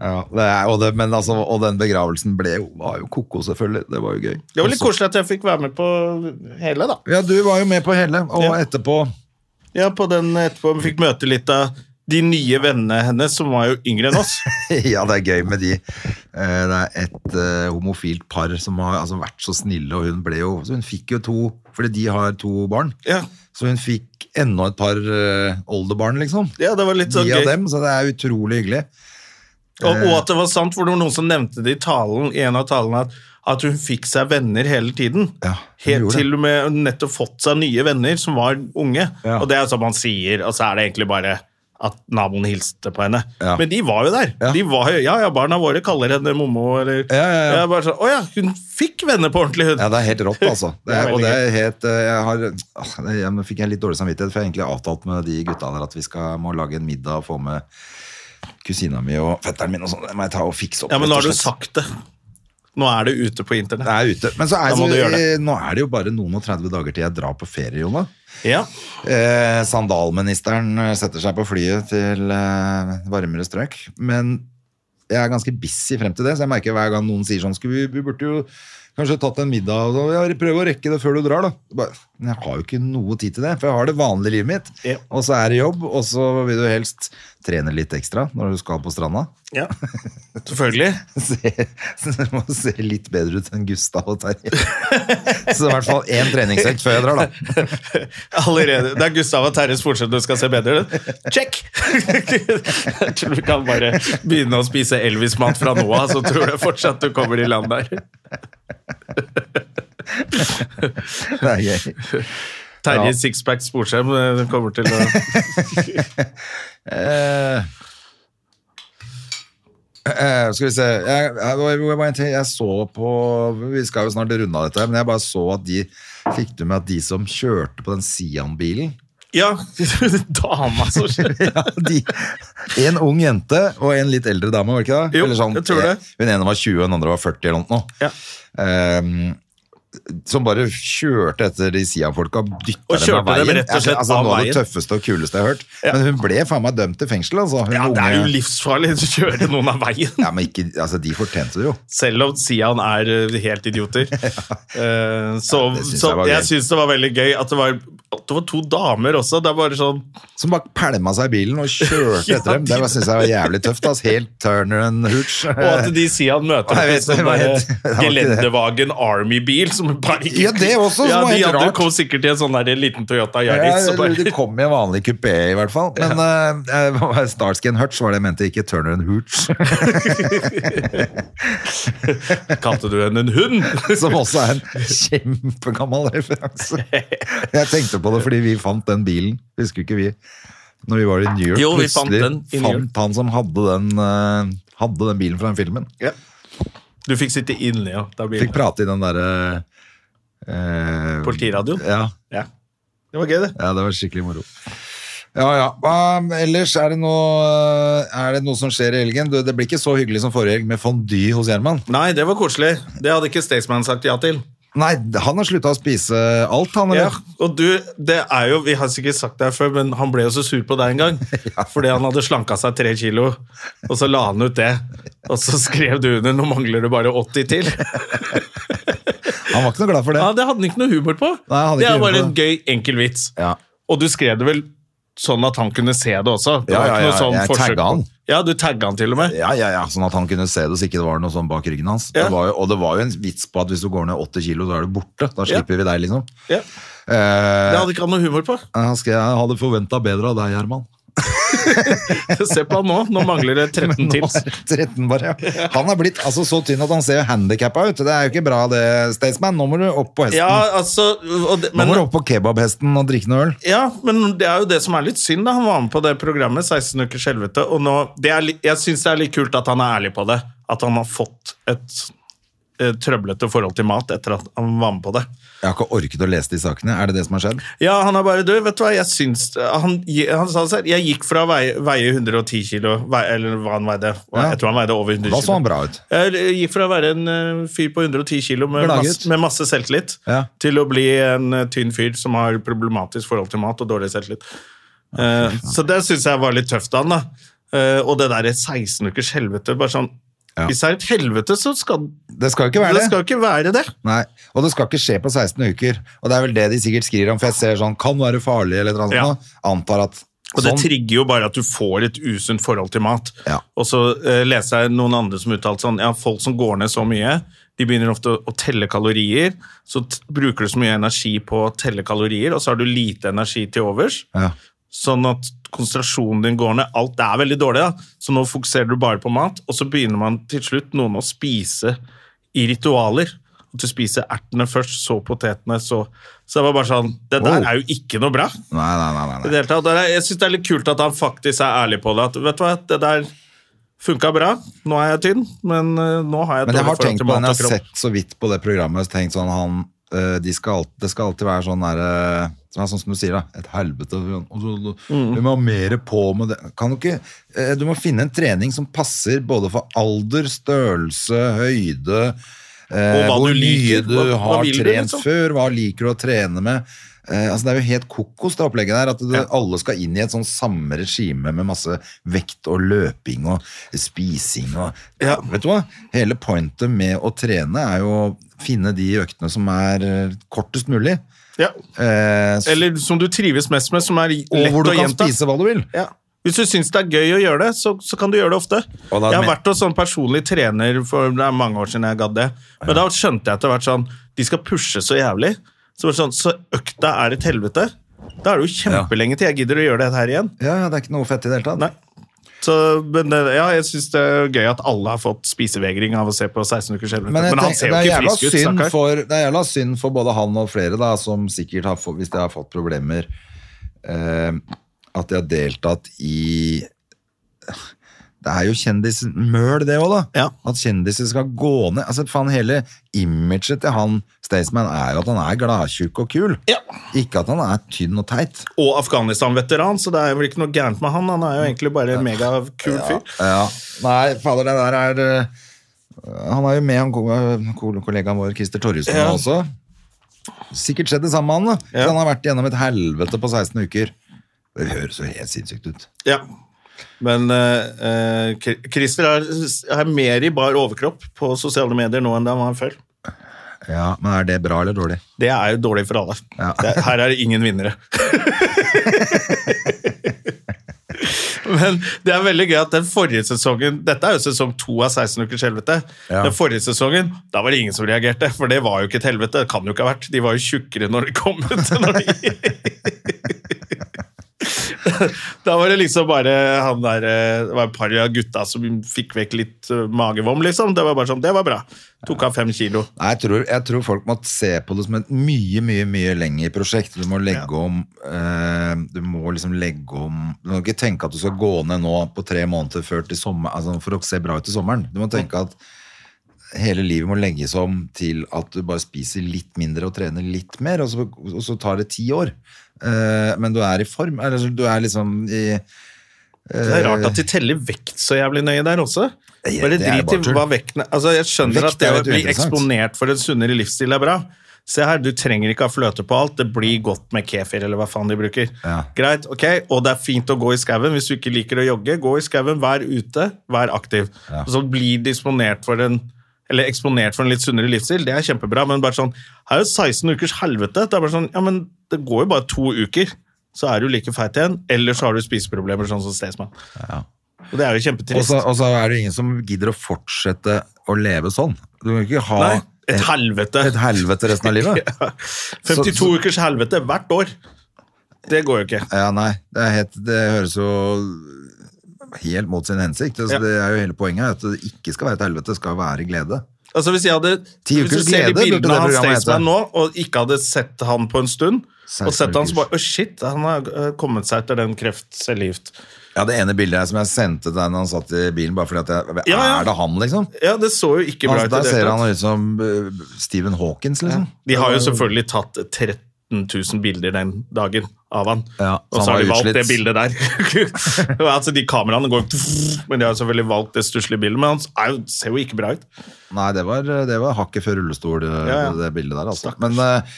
Speaker 2: ja det er, og, det, men altså, og den begravelsen ble jo, var jo ko-ko, selvfølgelig. Det var jo gøy.
Speaker 1: Det var litt koselig at jeg fikk være med på hele, da.
Speaker 2: Ja, du var jo med på hele, og
Speaker 1: Ja.
Speaker 2: etterpå
Speaker 1: Ja, på den etterpå vi fikk møte litt av de nye vennene hennes, som var jo yngre enn oss.
Speaker 2: Ja, det er gøy med de. Eh, Det er et eh, homofilt par som har altså, vært så snille, og hun ble jo så Hun fikk jo to, fordi de har to barn.
Speaker 1: Ja,
Speaker 2: Så hun fikk enda et par eh, oldebarn, liksom.
Speaker 1: ja det var litt
Speaker 2: De
Speaker 1: sånn
Speaker 2: av
Speaker 1: gøy.
Speaker 2: dem, så det er utrolig hyggelig.
Speaker 1: Og, og at det var sant, for det var noen som nevnte det i talen, i en av talene, at, at hun fikk seg venner hele tiden.
Speaker 2: Ja, hun
Speaker 1: Helt
Speaker 2: gjorde det.
Speaker 1: til og med hun nettopp fått seg nye venner som var unge.
Speaker 2: Ja.
Speaker 1: Og det er sånn man sier, og så er det egentlig bare at naboen hilste på henne.
Speaker 2: Ja.
Speaker 1: Men de var jo der.
Speaker 2: Ja.
Speaker 1: De var jo, ja, ja, barna våre kaller henne mommo, eller
Speaker 2: Ja, ja, ja.
Speaker 1: Jeg bare sånn, Å ja, hun fikk venner på ordentlig, hun.
Speaker 2: Ja, det er helt rått, altså. Det
Speaker 1: Det er
Speaker 2: er, og
Speaker 1: veldig
Speaker 2: det er helt eh, Jeg har åh, det, jeg, Nå fikk jeg litt dårlig samvittighet, for jeg har egentlig avtalt med de gutta der at vi skal må lage en middag og få med kusina mi og fetteren min og sånn. Det må jeg ta og fikse opp.
Speaker 1: Ja,
Speaker 2: rett
Speaker 1: men nå
Speaker 2: og
Speaker 1: har du
Speaker 2: slett.
Speaker 1: sagt det. Nå er det ute på
Speaker 2: Det
Speaker 1: internett.
Speaker 2: er ute. Men så er,
Speaker 1: Da må du
Speaker 2: så,
Speaker 1: gjøre det.
Speaker 2: nå er det jo bare noen og 30 dager til jeg drar på ferie, Jonna.
Speaker 1: Ja.
Speaker 2: Eh, sandalministeren eh, setter seg på flyet til eh, varmere strøk. Men jeg er ganske busy frem til det, så jeg merker hver gang noen sier sånn «Skulle vi, vi burde jo kanskje tatt en middag og sånn." ja, prøve å rekke det før du drar, da. Bare, Men jeg har jo ikke noe tid til det, for jeg har det vanlige livet mitt.
Speaker 1: Ja.
Speaker 2: Og så er det jobb, og så vil du helst trene litt ekstra når du skal på stranda.
Speaker 1: ja. Selvfølgelig.
Speaker 2: se, så det må se litt bedre ut enn Gustav og Terje. Så i hvert fall én treningsøkt før jeg drar, da.
Speaker 1: Allerede. Det er Gustav og Terjes fortsett du skal se bedre ut. Check! Jeg tror du kan bare begynne å spise Elvis-mat fra nå av, så tror jeg fortsatt du kommer i land der.
Speaker 2: Det er gøy. Ja.
Speaker 1: Terjes sixpack sportsskjerm eh, kommer til å
Speaker 2: Eh, eh, skal vi se jeg, jeg, hvor- hvor var jeg, til? jeg så på Vi skal jo snart runde av dette, her, men jeg bare så at de Fikk du med at de som kjørte på den Sian-bilen
Speaker 1: Ja, dama som skjer.
Speaker 2: ja, de, En ung jente og en litt eldre dame, var det ikke det?
Speaker 1: Jo,
Speaker 2: Eller sånn, eh,
Speaker 1: jeg tror det.
Speaker 2: Hun ene var 20, og den andre var 40 eller noe.
Speaker 1: Ja.
Speaker 2: Ehm, som bare kjørte etter de Sian-folka. dyttet
Speaker 1: Og kjørte
Speaker 2: av veien.
Speaker 1: dem rett og slett
Speaker 2: altså,
Speaker 1: av
Speaker 2: Noe av det
Speaker 1: veien.
Speaker 2: tøffeste og kuleste jeg har hørt. Men hun ble faen meg dømt til fengsel, altså. Hun
Speaker 1: Ja, det er jo
Speaker 2: unge-
Speaker 1: livsfarlig å kjøre noen av veien.
Speaker 2: Ja, men ikke, altså, de fortjente det jo.
Speaker 1: Selv om Sian er eh, helt idioter. Eh, Så,
Speaker 2: det synes
Speaker 1: så
Speaker 2: jeg var gøy.
Speaker 1: jeg syns det var veldig gøy at det var, at det var to damer også. Det er bare sånn
Speaker 2: Som bare pælma seg i bilen og kjørte
Speaker 1: Ja,
Speaker 2: etter dem. Det
Speaker 1: de-
Speaker 2: syns jeg var jævlig tøft. Altså. Helt Turner and Hooch.
Speaker 1: Og at de sier han møter
Speaker 2: Jeg
Speaker 1: en
Speaker 2: vet,
Speaker 1: sånn
Speaker 2: det var
Speaker 1: der
Speaker 2: helt- det var ikke det.
Speaker 1: Gelendewagen Army-bil som bare ikke
Speaker 2: Ja, det også, som
Speaker 1: Ja,
Speaker 2: var
Speaker 1: de
Speaker 2: helt
Speaker 1: andre
Speaker 2: rart.
Speaker 1: kom sikkert i en sånn der liten Toyota
Speaker 2: Ja,
Speaker 1: Yaris. og
Speaker 2: eller de
Speaker 1: bare,
Speaker 2: kom i en vanlig kupé, i hvert fall. Men uh, Starsky and Hutch var det jeg mente, ikke Turner and Hooch.
Speaker 1: Kalte du henne en hund?
Speaker 2: Som også er en kjempegammel referanse. Jeg tenkte på det fordi vi fant den bilen, husker ikke vi? Når vi var i New York,
Speaker 1: Jo, vi fant
Speaker 2: plutselig
Speaker 1: den i New York.
Speaker 2: fant han som hadde den, eh, hadde den bilen fra den filmen.
Speaker 1: Du fikk sitte inne, ja. Da blir
Speaker 2: Fikk
Speaker 1: det.
Speaker 2: prate i den derre eh,
Speaker 1: Politiradioen.
Speaker 2: Ja,
Speaker 1: Ja. Det var gøy, det.
Speaker 2: ja, det var skikkelig moro. Ja, ja. Hva, ellers er det, noe, eh, er det noe som skjer i helgen? Du, Det blir ikke så hyggelig som forrige helg med fondy hos Gjerman.
Speaker 1: Nei, det var koselig. Det hadde ikke Staysman sagt ja til.
Speaker 2: Nei, han har slutta å spise alt, han.
Speaker 1: Ja,
Speaker 2: Eller?
Speaker 1: og du, det er jo, Vi har sikkert sagt det her før, men han ble jo så sur på deg en gang. Fordi han hadde slanka seg tre kilo, og så la han ut det. Og så skrev du under 'nå mangler du bare 80 til'.
Speaker 2: Han var ikke noe glad for det.
Speaker 1: Ja, Det hadde han ikke noe humor på.
Speaker 2: Nei, han hadde
Speaker 1: det
Speaker 2: ikke
Speaker 1: er
Speaker 2: humor
Speaker 1: bare
Speaker 2: på
Speaker 1: en gøy, enkel vits.
Speaker 2: Ja.
Speaker 1: Og du skrev det vel sånn at han kunne se det også. Det
Speaker 2: Ja,
Speaker 1: var
Speaker 2: ja,
Speaker 1: ikke
Speaker 2: ja,
Speaker 1: noe sånn
Speaker 2: jeg
Speaker 1: forsøk
Speaker 2: tagget
Speaker 1: på-
Speaker 2: han.
Speaker 1: Ja, du tagga han til og med.
Speaker 2: Ja, ja, ja, sånn at han kunne se det så ikke det var noe sånn bak ryggen hans.
Speaker 1: Ja.
Speaker 2: Det var jo, og det var jo en vits på at hvis du går ned 8 kilo, da er du borte. Da slipper vi deg, liksom.
Speaker 1: Ja.
Speaker 2: Eh,
Speaker 1: Det hadde ikke han noe humor på.
Speaker 2: han skrev, jeg hadde forventa bedre av deg, Gjerman.
Speaker 1: Se på han nå. Nå mangler det 13
Speaker 2: Nå
Speaker 1: tips.
Speaker 2: er det 13 Altså, bare, ja. Han er blitt altså, så tynn at han ser handikappa ut. Det er jo ikke bra, det, Staysman. Nå må du opp på hesten.
Speaker 1: Ja, altså og det,
Speaker 2: Nå
Speaker 1: men,
Speaker 2: må du opp på kebabhesten og drikke noe øl.
Speaker 1: ja, men det er jo det som er litt synd. da. Han var med på det programmet, 16 ukers helvete, og nå det er, litt- Jeg syns det er litt kult at han er ærlig på det. At han har fått et eh, trøblete forhold til mat etter at han var med på det.
Speaker 2: Jeg har ikke orket å lese de sakene. Er det det som har skjedd?
Speaker 1: Ja, han er bare du, vet du hva, jeg syns Han, han sa det selv. Jeg gikk fra å veie, veie 110 kilo, vei, eller hva han veide
Speaker 2: Ja.
Speaker 1: Jeg tror han veide over 100 kilo.
Speaker 2: Da så han bra ut.
Speaker 1: Jeg gikk fra å være en eh, fyr på 110 kilo med,
Speaker 2: Glad
Speaker 1: masse,
Speaker 2: gutt.
Speaker 1: med masse selvtillit,
Speaker 2: Ja.
Speaker 1: til å bli en eh, tynn fyr som har problematisk forhold til mat og dårlig selvtillit. Eh, så det syns jeg var litt tøft av han, da. Eh, og det derre 16 ukers helvete, bare sånn
Speaker 2: Ja.
Speaker 1: Hvis det er et helvete, så skal
Speaker 2: Det skal jo ikke være
Speaker 1: det
Speaker 2: det.
Speaker 1: skal ikke være det.
Speaker 2: Nei, Og det skal ikke skje på 16 uker. Og det er vel det de sikkert skriver om, for jeg ser sånn kan være farlig eller noe sånt.
Speaker 1: Ja.
Speaker 2: nå. Antar at
Speaker 1: Og det
Speaker 2: sånn.
Speaker 1: trigger jo bare at du får et usunt forhold til mat.
Speaker 2: Ja.
Speaker 1: Og så eh, leser jeg noen andre som uttalte sånn, ja, folk som går ned så mye, de begynner ofte å, å telle kalorier, så t bruker du så mye energi på å telle kalorier, og så har du lite energi til overs,
Speaker 2: Ja.
Speaker 1: sånn at konsentrasjonen din går ned, alt er veldig dårlig, da. så nå fokuserer du bare på mat, og så begynner man til slutt noen å spise i ritualer. At du spiser ertene først, så potetene, så... Så det var bare sånn, det der
Speaker 2: Wow.
Speaker 1: er jo ikke noe bra.
Speaker 2: Nei, nei, nei. nei,
Speaker 1: I
Speaker 2: nei.
Speaker 1: det hele tatt. Og det er- Jeg syns det er litt kult at han faktisk er ærlig på det. At vet du hva, det der funka bra. Nå er jeg tynn, men eh, nå har jeg
Speaker 2: Men jeg
Speaker 1: et dårlig
Speaker 2: har
Speaker 1: forhold
Speaker 2: tenkt
Speaker 1: til
Speaker 2: på den,
Speaker 1: mat og
Speaker 2: jeg har
Speaker 1: kropp.
Speaker 2: sett så vidt på det programmet og tenkt sånn han, eh, de skal, alt- Det skal alltid være sånn der, eh, som er sånn som du sier, da, et helvete. og så-
Speaker 1: Mm.
Speaker 2: Vi må ha mer på med det. Kan du, ikke, eh, du må finne en trening som passer både for alder, størrelse, høyde eh,
Speaker 1: Og hva
Speaker 2: Hvor
Speaker 1: du liker.
Speaker 2: mye du
Speaker 1: Hva- hva
Speaker 2: har
Speaker 1: vil du,
Speaker 2: trent
Speaker 1: liksom?
Speaker 2: før, hva liker du å trene med. Eh, altså det er jo helt kokos, det opplegget der. At det, alle skal inn i et sånn samme regime med masse vekt og løping og spising og
Speaker 1: Ja.
Speaker 2: Vet du hva? Hele pointet med å trene er jo å finne de øktene som er eh, kortest mulig.
Speaker 1: Ja.
Speaker 2: Eh, s-
Speaker 1: Eller som du trives mest med, som er lett
Speaker 2: og hvor du
Speaker 1: å
Speaker 2: kan
Speaker 1: gjenta.
Speaker 2: spise hva du vil.
Speaker 1: Ja. Hvis du syns det er gøy å gjøre det, så, så kan du gjøre det ofte.
Speaker 2: Og da-
Speaker 1: jeg har vært hos sånn personlig trener for det er mange år siden jeg gadd det. Men da skjønte jeg etter hvert sånn De skal pushe så jævlig. Så, var det sånn, så økta er et helvete. Da er det jo kjempelenge til jeg gidder å gjøre det her igjen.
Speaker 2: Ja, ja, det er ikke noe fett i det hele tatt.
Speaker 1: Nei. Så, men det, ja, jeg syns det er gøy at alle har fått spisevegring av å se på 16 uker helvete. Men,
Speaker 2: jeg
Speaker 1: han
Speaker 2: tenker-
Speaker 1: ser jo
Speaker 2: det er
Speaker 1: ikke
Speaker 2: jævla
Speaker 1: frisk ut,
Speaker 2: synd
Speaker 1: stakkar.
Speaker 2: for, Det er jævla synd for både han og flere, da, som sikkert har fått, hvis de har fått problemer, eh, at de har deltatt i det er jo kjendismøl, det òg, da.
Speaker 1: Ja.
Speaker 2: At kjendiser skal gå ned. Altså, faen, Hele imaget til han Staysman er jo at han er gladtjukk og kul.
Speaker 1: Ja.
Speaker 2: Ikke at han er tynn og teit.
Speaker 1: Og Afghanistan-veteran, så det er vel ikke noe gærent med han. Han er jo egentlig bare en megakul fyr.
Speaker 2: Ja. Nei, fader, det der er eh, Han er jo med han ko- ko- kollegaen vår, Christer Torjussen,
Speaker 1: Ja.
Speaker 2: også. Sikkert skjedd det samme med han, da.
Speaker 1: Ja.
Speaker 2: For Han har vært gjennom et helvete på 16 uker. Det høres jo helt sinnssykt ut.
Speaker 1: Ja. Men eh, eh, Kri- Christer er, er mer i bar overkropp på sosiale medier nå enn det han var før.
Speaker 2: Ja, Men er det bra eller dårlig?
Speaker 1: Det er jo dårlig for alle.
Speaker 2: Ja.
Speaker 1: Det, her er det ingen vinnere. Men det er veldig gøy at den forrige sesongen Dette er jo sesong to av 16 ukers helvete.
Speaker 2: Ja.
Speaker 1: Den forrige sesongen, da var det ingen som reagerte, for det var jo ikke et helvete. Det kan jo ikke ha vært. De var jo tjukkere når de kom ut. enn Når de... da var det liksom bare han der eh, Det var et par av gutta som fikk vekk litt eh, magevom, liksom. Det var bare sånn, det var bra. Tok av fem kilo.
Speaker 2: Nei, jeg tror, jeg tror folk må se på det som et mye, mye mye lengre prosjekt. Du må legge om eh, Du må liksom legge om Du må ikke tenke at du skal gå ned nå på tre måneder før til sommer, altså for å se bra ut til sommeren. Du må tenke at hele livet må legges om til at du bare spiser litt mindre og trener litt mer, og så, og så tar det ti år. Eh, men du er i form. Eller så- du er liksom i
Speaker 1: Det er rart at de teller vekt så jævlig nøye der også.
Speaker 2: Eh, Ja,
Speaker 1: Bare
Speaker 2: eh, det er
Speaker 1: drit
Speaker 2: bare
Speaker 1: i
Speaker 2: tull.
Speaker 1: hva vekten er. Altså, jeg skjønner
Speaker 2: Vekt
Speaker 1: at det
Speaker 2: er
Speaker 1: å
Speaker 2: litt
Speaker 1: bli
Speaker 2: uinteressant.
Speaker 1: eksponert for en sunnere livsstil er bra. Se her, du trenger ikke ha fløte på alt. Det blir godt med kefir, eller hva faen de bruker.
Speaker 2: Ja.
Speaker 1: Greit, ok, Og det er fint å gå i skauen hvis du ikke liker å jogge. Gå i skauen, vær ute, vær aktiv.
Speaker 2: Ja.
Speaker 1: Og så bli disponert for en eller eksponert for en litt sunnere livsstil, det er kjempebra, men bare sånn Her er jo 16 ukers helvete. Det er bare sånn Ja, men det går jo bare to uker. så er du like feit igjen, eller så har du spiseproblemer, sånn som Staysman.
Speaker 2: Ja.
Speaker 1: Og det er jo
Speaker 2: Og
Speaker 1: kjempetrist.
Speaker 2: så og så er det ingen som gidder å fortsette å leve sånn. Du kan ikke ha
Speaker 1: Nei, et
Speaker 2: et,
Speaker 1: helvete.
Speaker 2: et helvete resten av livet.
Speaker 1: Ja. 52
Speaker 2: Så- så-
Speaker 1: ukers helvete hvert år. Det går jo ikke.
Speaker 2: Ja, nei, det, er helt, det høres jo helt mot sin hensikt. Altså,
Speaker 1: Ja.
Speaker 2: Det er jo hele poenget, at det ikke skal være et helvete, det skal være glede.
Speaker 1: Altså Hvis jeg hadde
Speaker 2: Ti
Speaker 1: Hvis du
Speaker 2: ukers
Speaker 1: ser de
Speaker 2: glede burde det
Speaker 1: bildene av
Speaker 2: programmet hete.
Speaker 1: Staysman nå, og ikke hadde sett han på en stund Og
Speaker 2: 16
Speaker 1: sett han så
Speaker 2: ukers.
Speaker 1: bare Å, shit, han har eh, kommet seg etter den kreftcellegift.
Speaker 2: Ja, det ene bildet her som jeg sendte til deg når han satt i bilen, bare fordi at jeg,
Speaker 1: Ja, ja.
Speaker 2: Er det han, liksom?
Speaker 1: Ja, det så jo ikke bra
Speaker 2: Altså,
Speaker 1: ut. i
Speaker 2: der
Speaker 1: det
Speaker 2: ser
Speaker 1: hele
Speaker 2: han
Speaker 1: tatt.
Speaker 2: ut som eh, Stephen Hawkins, liksom.
Speaker 1: De har jo selvfølgelig tatt 13 000 bilder den dagen av han.
Speaker 2: Ja, så
Speaker 1: og så
Speaker 2: han
Speaker 1: har de
Speaker 2: var
Speaker 1: valgt det
Speaker 2: utslitt.
Speaker 1: bildet der. Og altså De kameraene går Men de har selvfølgelig valgt det stusslige bildet, men han er jo, ser jo ikke bra ut.
Speaker 2: Nei, det var, det var hakket før rullestol, eh,
Speaker 1: Ja, ja.
Speaker 2: det bildet der, altså. Men, eh,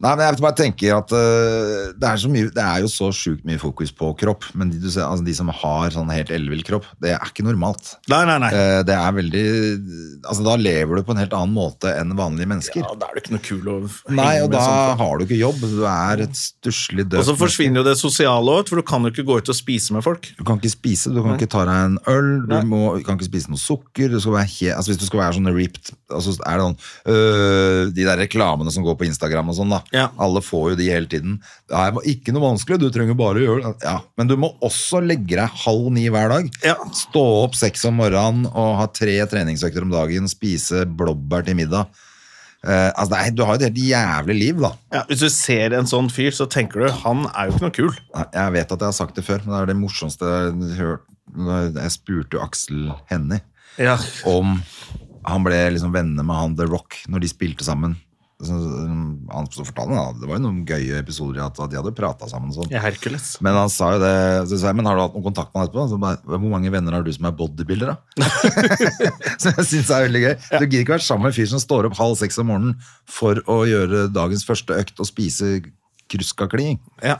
Speaker 2: nei, men jeg bare tenker at eh, det er, så mye, det er jo så sjukt mye fokus på kropp, men de, du ser, altså, de som har sånn helt ellevill kropp, det er ikke normalt.
Speaker 1: Nei, nei, nei.
Speaker 2: Eh, Det er veldig Altså, da lever du på en helt annen måte enn vanlige mennesker.
Speaker 1: Ja, da er det ikke noe kul å henge
Speaker 2: Nei, og
Speaker 1: med
Speaker 2: da
Speaker 1: sånn for.
Speaker 2: har du ikke jobb. Du er et stusslig døvt
Speaker 1: Og så
Speaker 2: menneske.
Speaker 1: forsvinner jo det sosiale òg, for du kan jo ikke gå ut og spise med folk.
Speaker 2: Du kan ikke spise, du kan ikke ta deg en øl, du,
Speaker 1: Nei.
Speaker 2: må, du kan ikke spise noe sukker. Du skal være he altså, hvis du skal være sånn ripped altså, er det sånn, øh, De der reklamene som går på Instagram og sånn, da.
Speaker 1: Ja.
Speaker 2: Alle får jo de hele tiden. Det er jo ikke noe vanskelig, du trenger bare å gjøre det. Ja. Men du må også legge deg halv ni hver dag.
Speaker 1: Ja.
Speaker 2: Stå opp seks om morgenen og ha tre treningsøkter om dagen. Spise blåbær til middag. Eh, altså, nei, du har jo et helt jævlig liv, da.
Speaker 1: Ja, hvis du ser en sånn fyr, så tenker du han er jo ikke noe kul.
Speaker 2: Nei, Jeg vet at jeg har sagt det før, men det er det morsomste jeg har hørt. Jeg spurte jo Aksel Hennie
Speaker 1: Ja.
Speaker 2: om han ble liksom venner med han The Rock når de spilte sammen. Så, um, han så fortalte han, da, Det var jo noen gøye episoder at at de hadde prata sammen. og Sånn.
Speaker 1: Hercules.
Speaker 2: Men han sa jo det så sa jeg, Men har du hatt noen kontakt med han etterpå? Så bare, Hvor mange venner har du som er bodybuilder, da? så jeg synes det er veldig gøy. Du gidder ikke være sammen med en fyr som står opp halv seks om morgenen for å gjøre dagens første økt og spise kruskakling.
Speaker 1: Ja.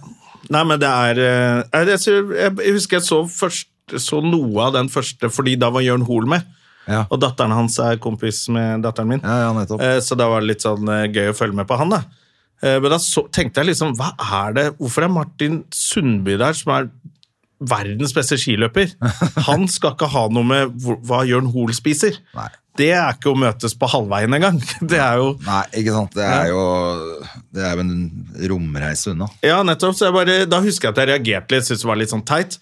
Speaker 1: Nei, men det er eh, jeg- Jeg, ser- jeg, jeg husker jeg så, først, så noe av den første, fordi da var Jørn Hoel med.
Speaker 2: Ja.
Speaker 1: Og datteren hans er kompis med datteren min.
Speaker 2: Ja, ja, nettopp.
Speaker 1: Eh, Så da var det litt sånn eh, gøy å følge med på han, da. Eh, Men da så, tenkte jeg liksom, hva er det Hvorfor er Martin Sundby der, som er verdens beste skiløper? Han skal ikke ha noe med hvor- hva Jørn Hoel spiser.
Speaker 2: Nei.
Speaker 1: Det er ikke å møtes på halvveien engang. Det er jo
Speaker 2: Nei, ikke sant. Det er jo, det er jo en romreise unna.
Speaker 1: Ja, nettopp. Så jeg bare, da husker jeg at jeg reagerte litt, syntes det var litt sånn teit.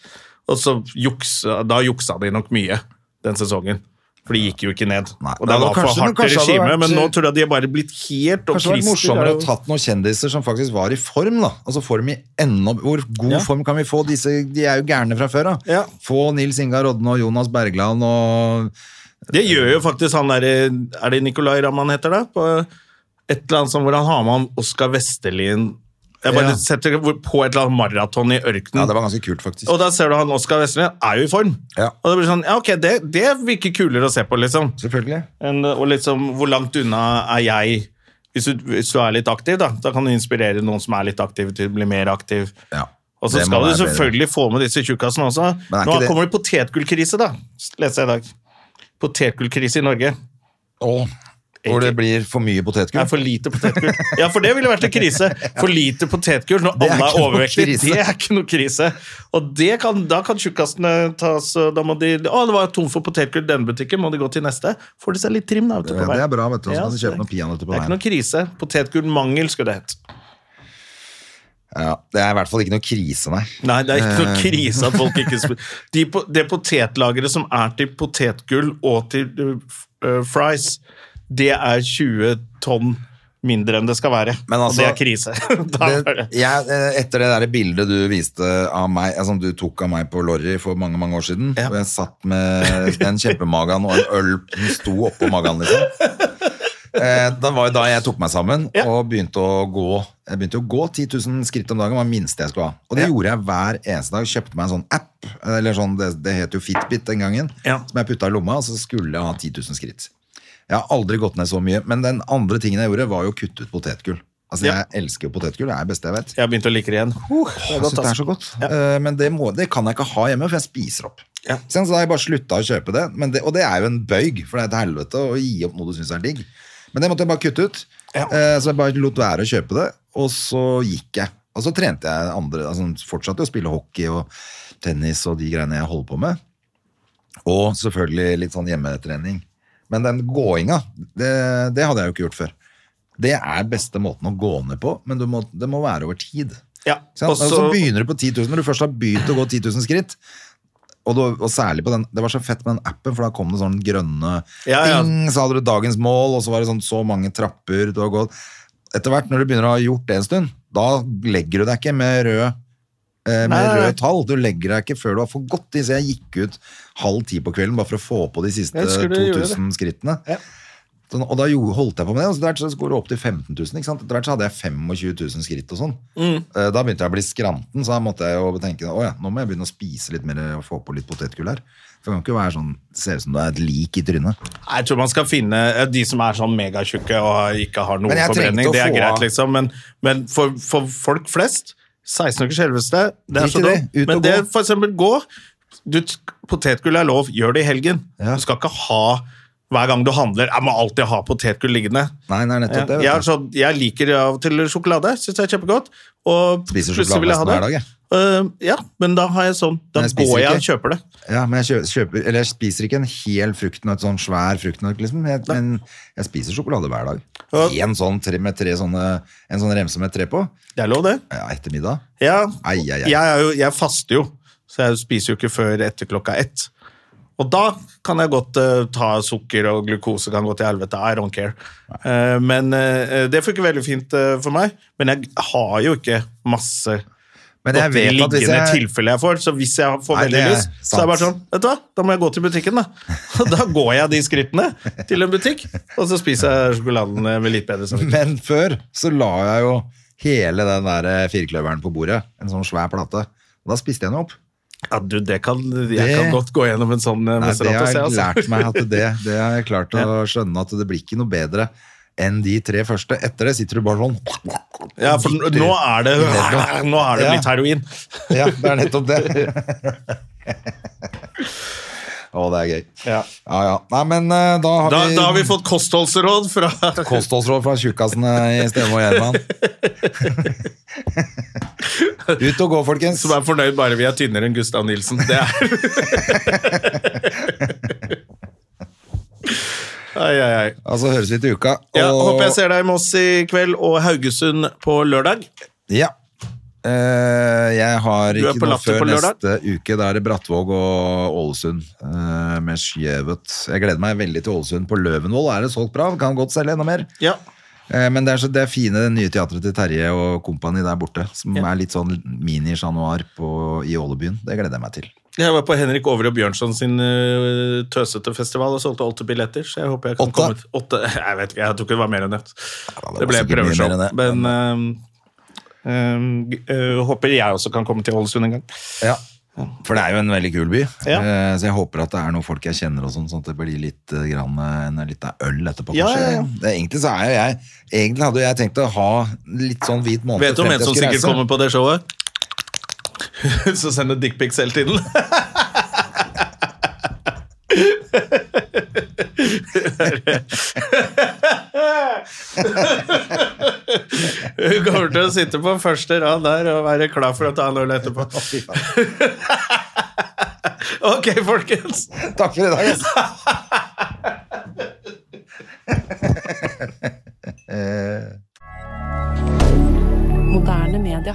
Speaker 1: Og så juksa, da juksa de nok mye den sesongen. For de gikk jo ikke ned.
Speaker 2: Nei,
Speaker 1: og det
Speaker 2: men
Speaker 1: var for
Speaker 2: kanskje- men
Speaker 1: hardt
Speaker 2: kanskje hadde det
Speaker 1: regime,
Speaker 2: vært-
Speaker 1: men nå tror jeg de har bare blitt helt og
Speaker 2: Kanskje det hadde vært
Speaker 1: Christer er
Speaker 2: morsommere
Speaker 1: jo-
Speaker 2: å tatt noen kjendiser som faktisk var i form, da. Altså form i enda Hvor god
Speaker 1: Ja.
Speaker 2: form kan vi få? Disse, de er jo gærne fra før, da.
Speaker 1: Ja.
Speaker 2: Få Nils Ingar Rodne og Jonas Bergland og
Speaker 1: Det gjør jo faktisk han der Er det Nicolay Ramm han heter, da? På et eller annet sånt hvor han har med han Oskar Vestelin Jeg bare
Speaker 2: Ja.
Speaker 1: setter det på et eller annet maraton i ørkenen.
Speaker 2: Ja, det var ganske kult, faktisk.
Speaker 1: Og da ser du han Oskar Vestelin er jo i form.
Speaker 2: Ja.
Speaker 1: Og det blir sånn, ja ok, det, det virker kulere å se på, liksom.
Speaker 2: Selvfølgelig.
Speaker 1: Enn- og liksom, hvor langt unna er jeg? Hvis du, hvis du er litt aktiv, da, da kan du inspirere noen som er litt aktive til å bli mer aktiv.
Speaker 2: Ja.
Speaker 1: Og så
Speaker 2: Det må
Speaker 1: skal du
Speaker 2: være bedre.
Speaker 1: selvfølgelig få med disse tjukkasene også.
Speaker 2: Men er
Speaker 1: Nå
Speaker 2: ikke det-
Speaker 1: kommer det potetgullkrise, da. Leser jeg i dag. Potetgullkrise i Norge.
Speaker 2: Og hvor det blir for mye
Speaker 1: Det
Speaker 2: potetgull.
Speaker 1: er for lite potetgull. Ja, for det ville vært en krise. For lite potetgull når
Speaker 2: Det er
Speaker 1: alle
Speaker 2: ikke
Speaker 1: er
Speaker 2: noe
Speaker 1: overvektige.
Speaker 2: krise.
Speaker 1: Det er ikke noe krise. Og det kan, da kan tjukkasene tas og Da må de Å, det var tom for potetgull i denne butikken, må de gå til neste? Får de seg litt trim, da. ute på
Speaker 2: Ja, det
Speaker 1: veien.
Speaker 2: er bra, vet du. Så
Speaker 1: Ja,
Speaker 2: kan du
Speaker 1: så
Speaker 2: kjøpe noen peanøtter på
Speaker 1: Det er ikke
Speaker 2: veien.
Speaker 1: noe krise. Potetgullmangel skulle det hett.
Speaker 2: Ja, det er i hvert fall ikke noe krise, nei.
Speaker 1: Nei, det er ikke
Speaker 2: Eh.
Speaker 1: noe krise at folk ikke spiser De po- Det potetlageret som er til potetgull og til uh, f- uh, fries, det er 20 tonn mindre enn det skal være.
Speaker 2: Men altså,
Speaker 1: og det er krise. da er
Speaker 2: det,
Speaker 1: det.
Speaker 2: jeg, eh, etter det der bildet du viste av meg, eh, som du tok av meg på Lorry for mange mange år siden,
Speaker 1: Ja.
Speaker 2: og jeg satt med den kjempemagen og en øl som sto oppå magen, liksom. Eh, Det var jo da jeg tok meg sammen
Speaker 1: Ja.
Speaker 2: og begynte å gå Jeg begynte å gå 10 000 skritt om dagen. var det minste jeg skulle ha. Og det gjorde jeg hver eneste dag. Kjøpte meg en sånn app, eller sånn, det, det het jo Fitbit den gangen,
Speaker 1: Ja.
Speaker 2: som jeg putta i lomma, og så skulle jeg ha 10 000 skritt. Jeg har aldri gått ned så mye, men den andre tingen jeg gjorde, var jo å kutte ut potetgull. Altså, Jeg
Speaker 1: Ja.
Speaker 2: elsker jo potetgull, det er det beste jeg vet.
Speaker 1: Jeg har begynt å like det igjen. det er
Speaker 2: jeg
Speaker 1: godt,
Speaker 2: synes det er
Speaker 1: altså.
Speaker 2: så godt. Eh, Men det, må, det kan jeg ikke ha hjemme, for jeg spiser opp.
Speaker 1: Ja.
Speaker 2: Så da har jeg bare slutta å kjøpe det, men det, og det er jo en bøyg, for det er et helvete å gi opp noe du syns er digg. Men det måtte jeg bare kutte ut.
Speaker 1: Ja.
Speaker 2: Eh, Så jeg bare lot være å kjøpe det, og så gikk jeg. Og så trente jeg andre, altså fortsatte å spille hockey og tennis og de greiene jeg holder på med. Og selvfølgelig litt sånn hjemmetrening. Men den gåinga, det, det hadde jeg jo ikke gjort før. Det er beste måten å gå ned på, men du må, det må være over tid.
Speaker 1: Ja,
Speaker 2: Ikke sant? Altså,
Speaker 1: og
Speaker 2: så,
Speaker 1: så-
Speaker 2: begynner du på 10 000, når du først har begynt å gå 10 000 skritt. Og, da- og særlig på den, Det var så fett med den appen, for da kom det sånne grønne
Speaker 1: Ja, ja.
Speaker 2: ting. Så hadde du dagens mål, og så var det sånn så mange trapper du har gått. Etter hvert, når du begynner å ha gjort det en stund, da legger du deg ikke med rød eh, med
Speaker 1: Nei, nei, nei.
Speaker 2: røde tall. Du legger deg ikke før du har fått gått de. Så jeg gikk ut halv ti på kvelden bare for å få på de siste
Speaker 1: Jeg husker du gjorde
Speaker 2: 2000 skrittene.
Speaker 1: Ja.
Speaker 2: Sånn, og da jo, holdt jeg på med det. Og så etter hvert så går det opp til 15 000. Ikke sant? Etter hvert så hadde jeg 25 000 skritt og sånn.
Speaker 1: Mm.
Speaker 2: Eh, Da begynte jeg å bli skranten, så da måtte jeg jo tenke å ja, nå må jeg begynne å spise litt mer og få på litt potetgull her. For det kan ikke være sånn, det ser ut som du er et lik i trynet.
Speaker 1: Jeg tror man skal finne eh, de som er sånn megatjukke og ikke har
Speaker 2: Men
Speaker 1: noen
Speaker 2: jeg trengte
Speaker 1: forbrenning.
Speaker 2: å
Speaker 1: Det er
Speaker 2: få av-
Speaker 1: greit, liksom. Men, men for, for folk flest 16 ukers helvete, det er
Speaker 2: Drit i
Speaker 1: så
Speaker 2: det,
Speaker 1: dumt.
Speaker 2: ut og
Speaker 1: Men det
Speaker 2: gå.
Speaker 1: for eksempel gå du, t- Potetgull er lov, gjør det i helgen.
Speaker 2: Ja.
Speaker 1: Du skal ikke ha hver gang du handler. Jeg må alltid ha potetgull liggende.
Speaker 2: Nei, nei, nettopp det.
Speaker 1: Jeg,
Speaker 2: Vet
Speaker 1: er
Speaker 2: du.
Speaker 1: sånn- jeg liker av og til sjokolade. Syns det er kjempegodt. Og
Speaker 2: Spiser
Speaker 1: plutselig vil jeg ha
Speaker 2: sjokolade nesten
Speaker 1: det.
Speaker 2: hver dag, jeg.
Speaker 1: Eh, ja, men da har jeg sånn Da
Speaker 2: Men jeg spiser
Speaker 1: går jeg og
Speaker 2: ikke.
Speaker 1: kjøper det.
Speaker 2: Ja, men jeg kjø- kjøper, eller jeg spiser ikke en hel fruktnøtt, sånn svær fruktnøtt, liksom. Jeg, men jeg spiser sjokolade hver dag.
Speaker 1: Ja.
Speaker 2: En sånn, tre, med tre sånne, en sånn remse med tre på,
Speaker 1: Det er lov, det.
Speaker 2: ja, ettermiddag.
Speaker 1: Ja,
Speaker 2: Ai, ai, ai.
Speaker 1: Jeg, er jo, jeg faster jo, så jeg spiser jo ikke før etter klokka ett. Og da kan jeg godt eh, ta sukker og glukose, kan gå til helvete. I don't care. Eh, men eh, det funker veldig fint eh, for meg. Men jeg har jo ikke masse
Speaker 2: Men jeg vet at hvis
Speaker 1: liggende
Speaker 2: jeg...
Speaker 1: tilfeller jeg får. Så hvis jeg får
Speaker 2: Nei,
Speaker 1: veldig
Speaker 2: det er
Speaker 1: lyst, så er det bare sånn
Speaker 2: sant.
Speaker 1: Vet du hva, da må jeg gå til butikken, da. Og da går jeg de skrittene til en butikk, og så spiser jeg sjokoladen eh, med litt bedre samvittighet.
Speaker 2: Men før så la jeg jo hele den der eh, firkløveren på bordet, en sånn svær plate. Og da spiste jeg den opp.
Speaker 1: Ja, du, det kan, jeg
Speaker 2: Det-
Speaker 1: kan godt gå gjennom en sånn eh,
Speaker 2: Nei, det
Speaker 1: Maserati,
Speaker 2: har
Speaker 1: jeg,
Speaker 2: jeg
Speaker 1: altså.
Speaker 2: lært meg at det, det har jeg klart å skjønne at det blir ikke noe bedre enn de tre første. Etter det sitter du bare sånn.
Speaker 1: Ja, for n- nå er det, nå er det
Speaker 2: Ja.
Speaker 1: blitt heroin.
Speaker 2: Ja, det er nettopp det. Å, det er gøy.
Speaker 1: Ja.
Speaker 2: Ja, ja. Nei, men eh, da har
Speaker 1: Da,
Speaker 2: vi,
Speaker 1: da har vi fått kostholdsråd fra
Speaker 2: kostholdsråd fra tjukkasene i Stemme og Gjerman. Ut og gå, folkens.
Speaker 1: som er fornøyd bare vi er tynnere enn Gustav Nilsen. Det er Ai, ai, ai.
Speaker 2: Altså, høres vi til uka.
Speaker 1: Ja,
Speaker 2: og-
Speaker 1: håper jeg ser deg i Moss i kveld og Haugesund på lørdag.
Speaker 2: Ja. Eh, jeg har
Speaker 1: Du er
Speaker 2: ikke
Speaker 1: på
Speaker 2: noe
Speaker 1: Latter
Speaker 2: før
Speaker 1: på lørdag?
Speaker 2: neste uke. Da er det Brattvåg og Ålesund eh, med Skjevet. Jeg gleder meg veldig til Ålesund. På Løvenvoll er det solgt bra. Kan godt selge enda mer.
Speaker 1: Ja.
Speaker 2: Eh, men det er så det er fine det nye teatret til Terje og kompani der borte. Som er litt sånn mini-Chat Noir på- i Ålebyen. Det gleder jeg meg til.
Speaker 1: Jeg var på Henrik Over og Bjørnson sin eh, tøsete festival og solgte åtte billetter. Så jeg håper jeg kan
Speaker 2: Åtte?
Speaker 1: komme ut. Åtte? Jeg vet ikke, jeg tror ikke det var mer enn det.
Speaker 2: var
Speaker 1: Det ble
Speaker 2: sikkert mye
Speaker 1: prøveshow.
Speaker 2: mer enn det,
Speaker 1: Men eh, eh, eh, håper jeg også kan komme til Ålesund en gang.
Speaker 2: Ja. For det er jo en veldig kul by.
Speaker 1: Ja.
Speaker 2: Eh, så jeg håper at det er noen folk jeg kjenner, og sånn, sånn at det blir litt eh, grann, eh, en liten øl etterpå.
Speaker 1: Ja,
Speaker 2: kanskje.
Speaker 1: ja, ja.
Speaker 2: Det, egentlig, så er jo jeg, egentlig hadde jo jeg tenkt å ha litt sånn hvit måned
Speaker 1: Vet du om
Speaker 2: frem
Speaker 1: en
Speaker 2: til jeg
Speaker 1: som
Speaker 2: skal
Speaker 1: sikkert
Speaker 2: reise.
Speaker 1: kommer på det showet? Så sender dickpics hele tiden. Hun kommer til å sitte på første rad der og være klar for å ta en øl etterpå.
Speaker 2: Fy faen.
Speaker 1: Ok, folkens.
Speaker 2: Takk for i dag, altså. ass.
Speaker 5: Moderne media.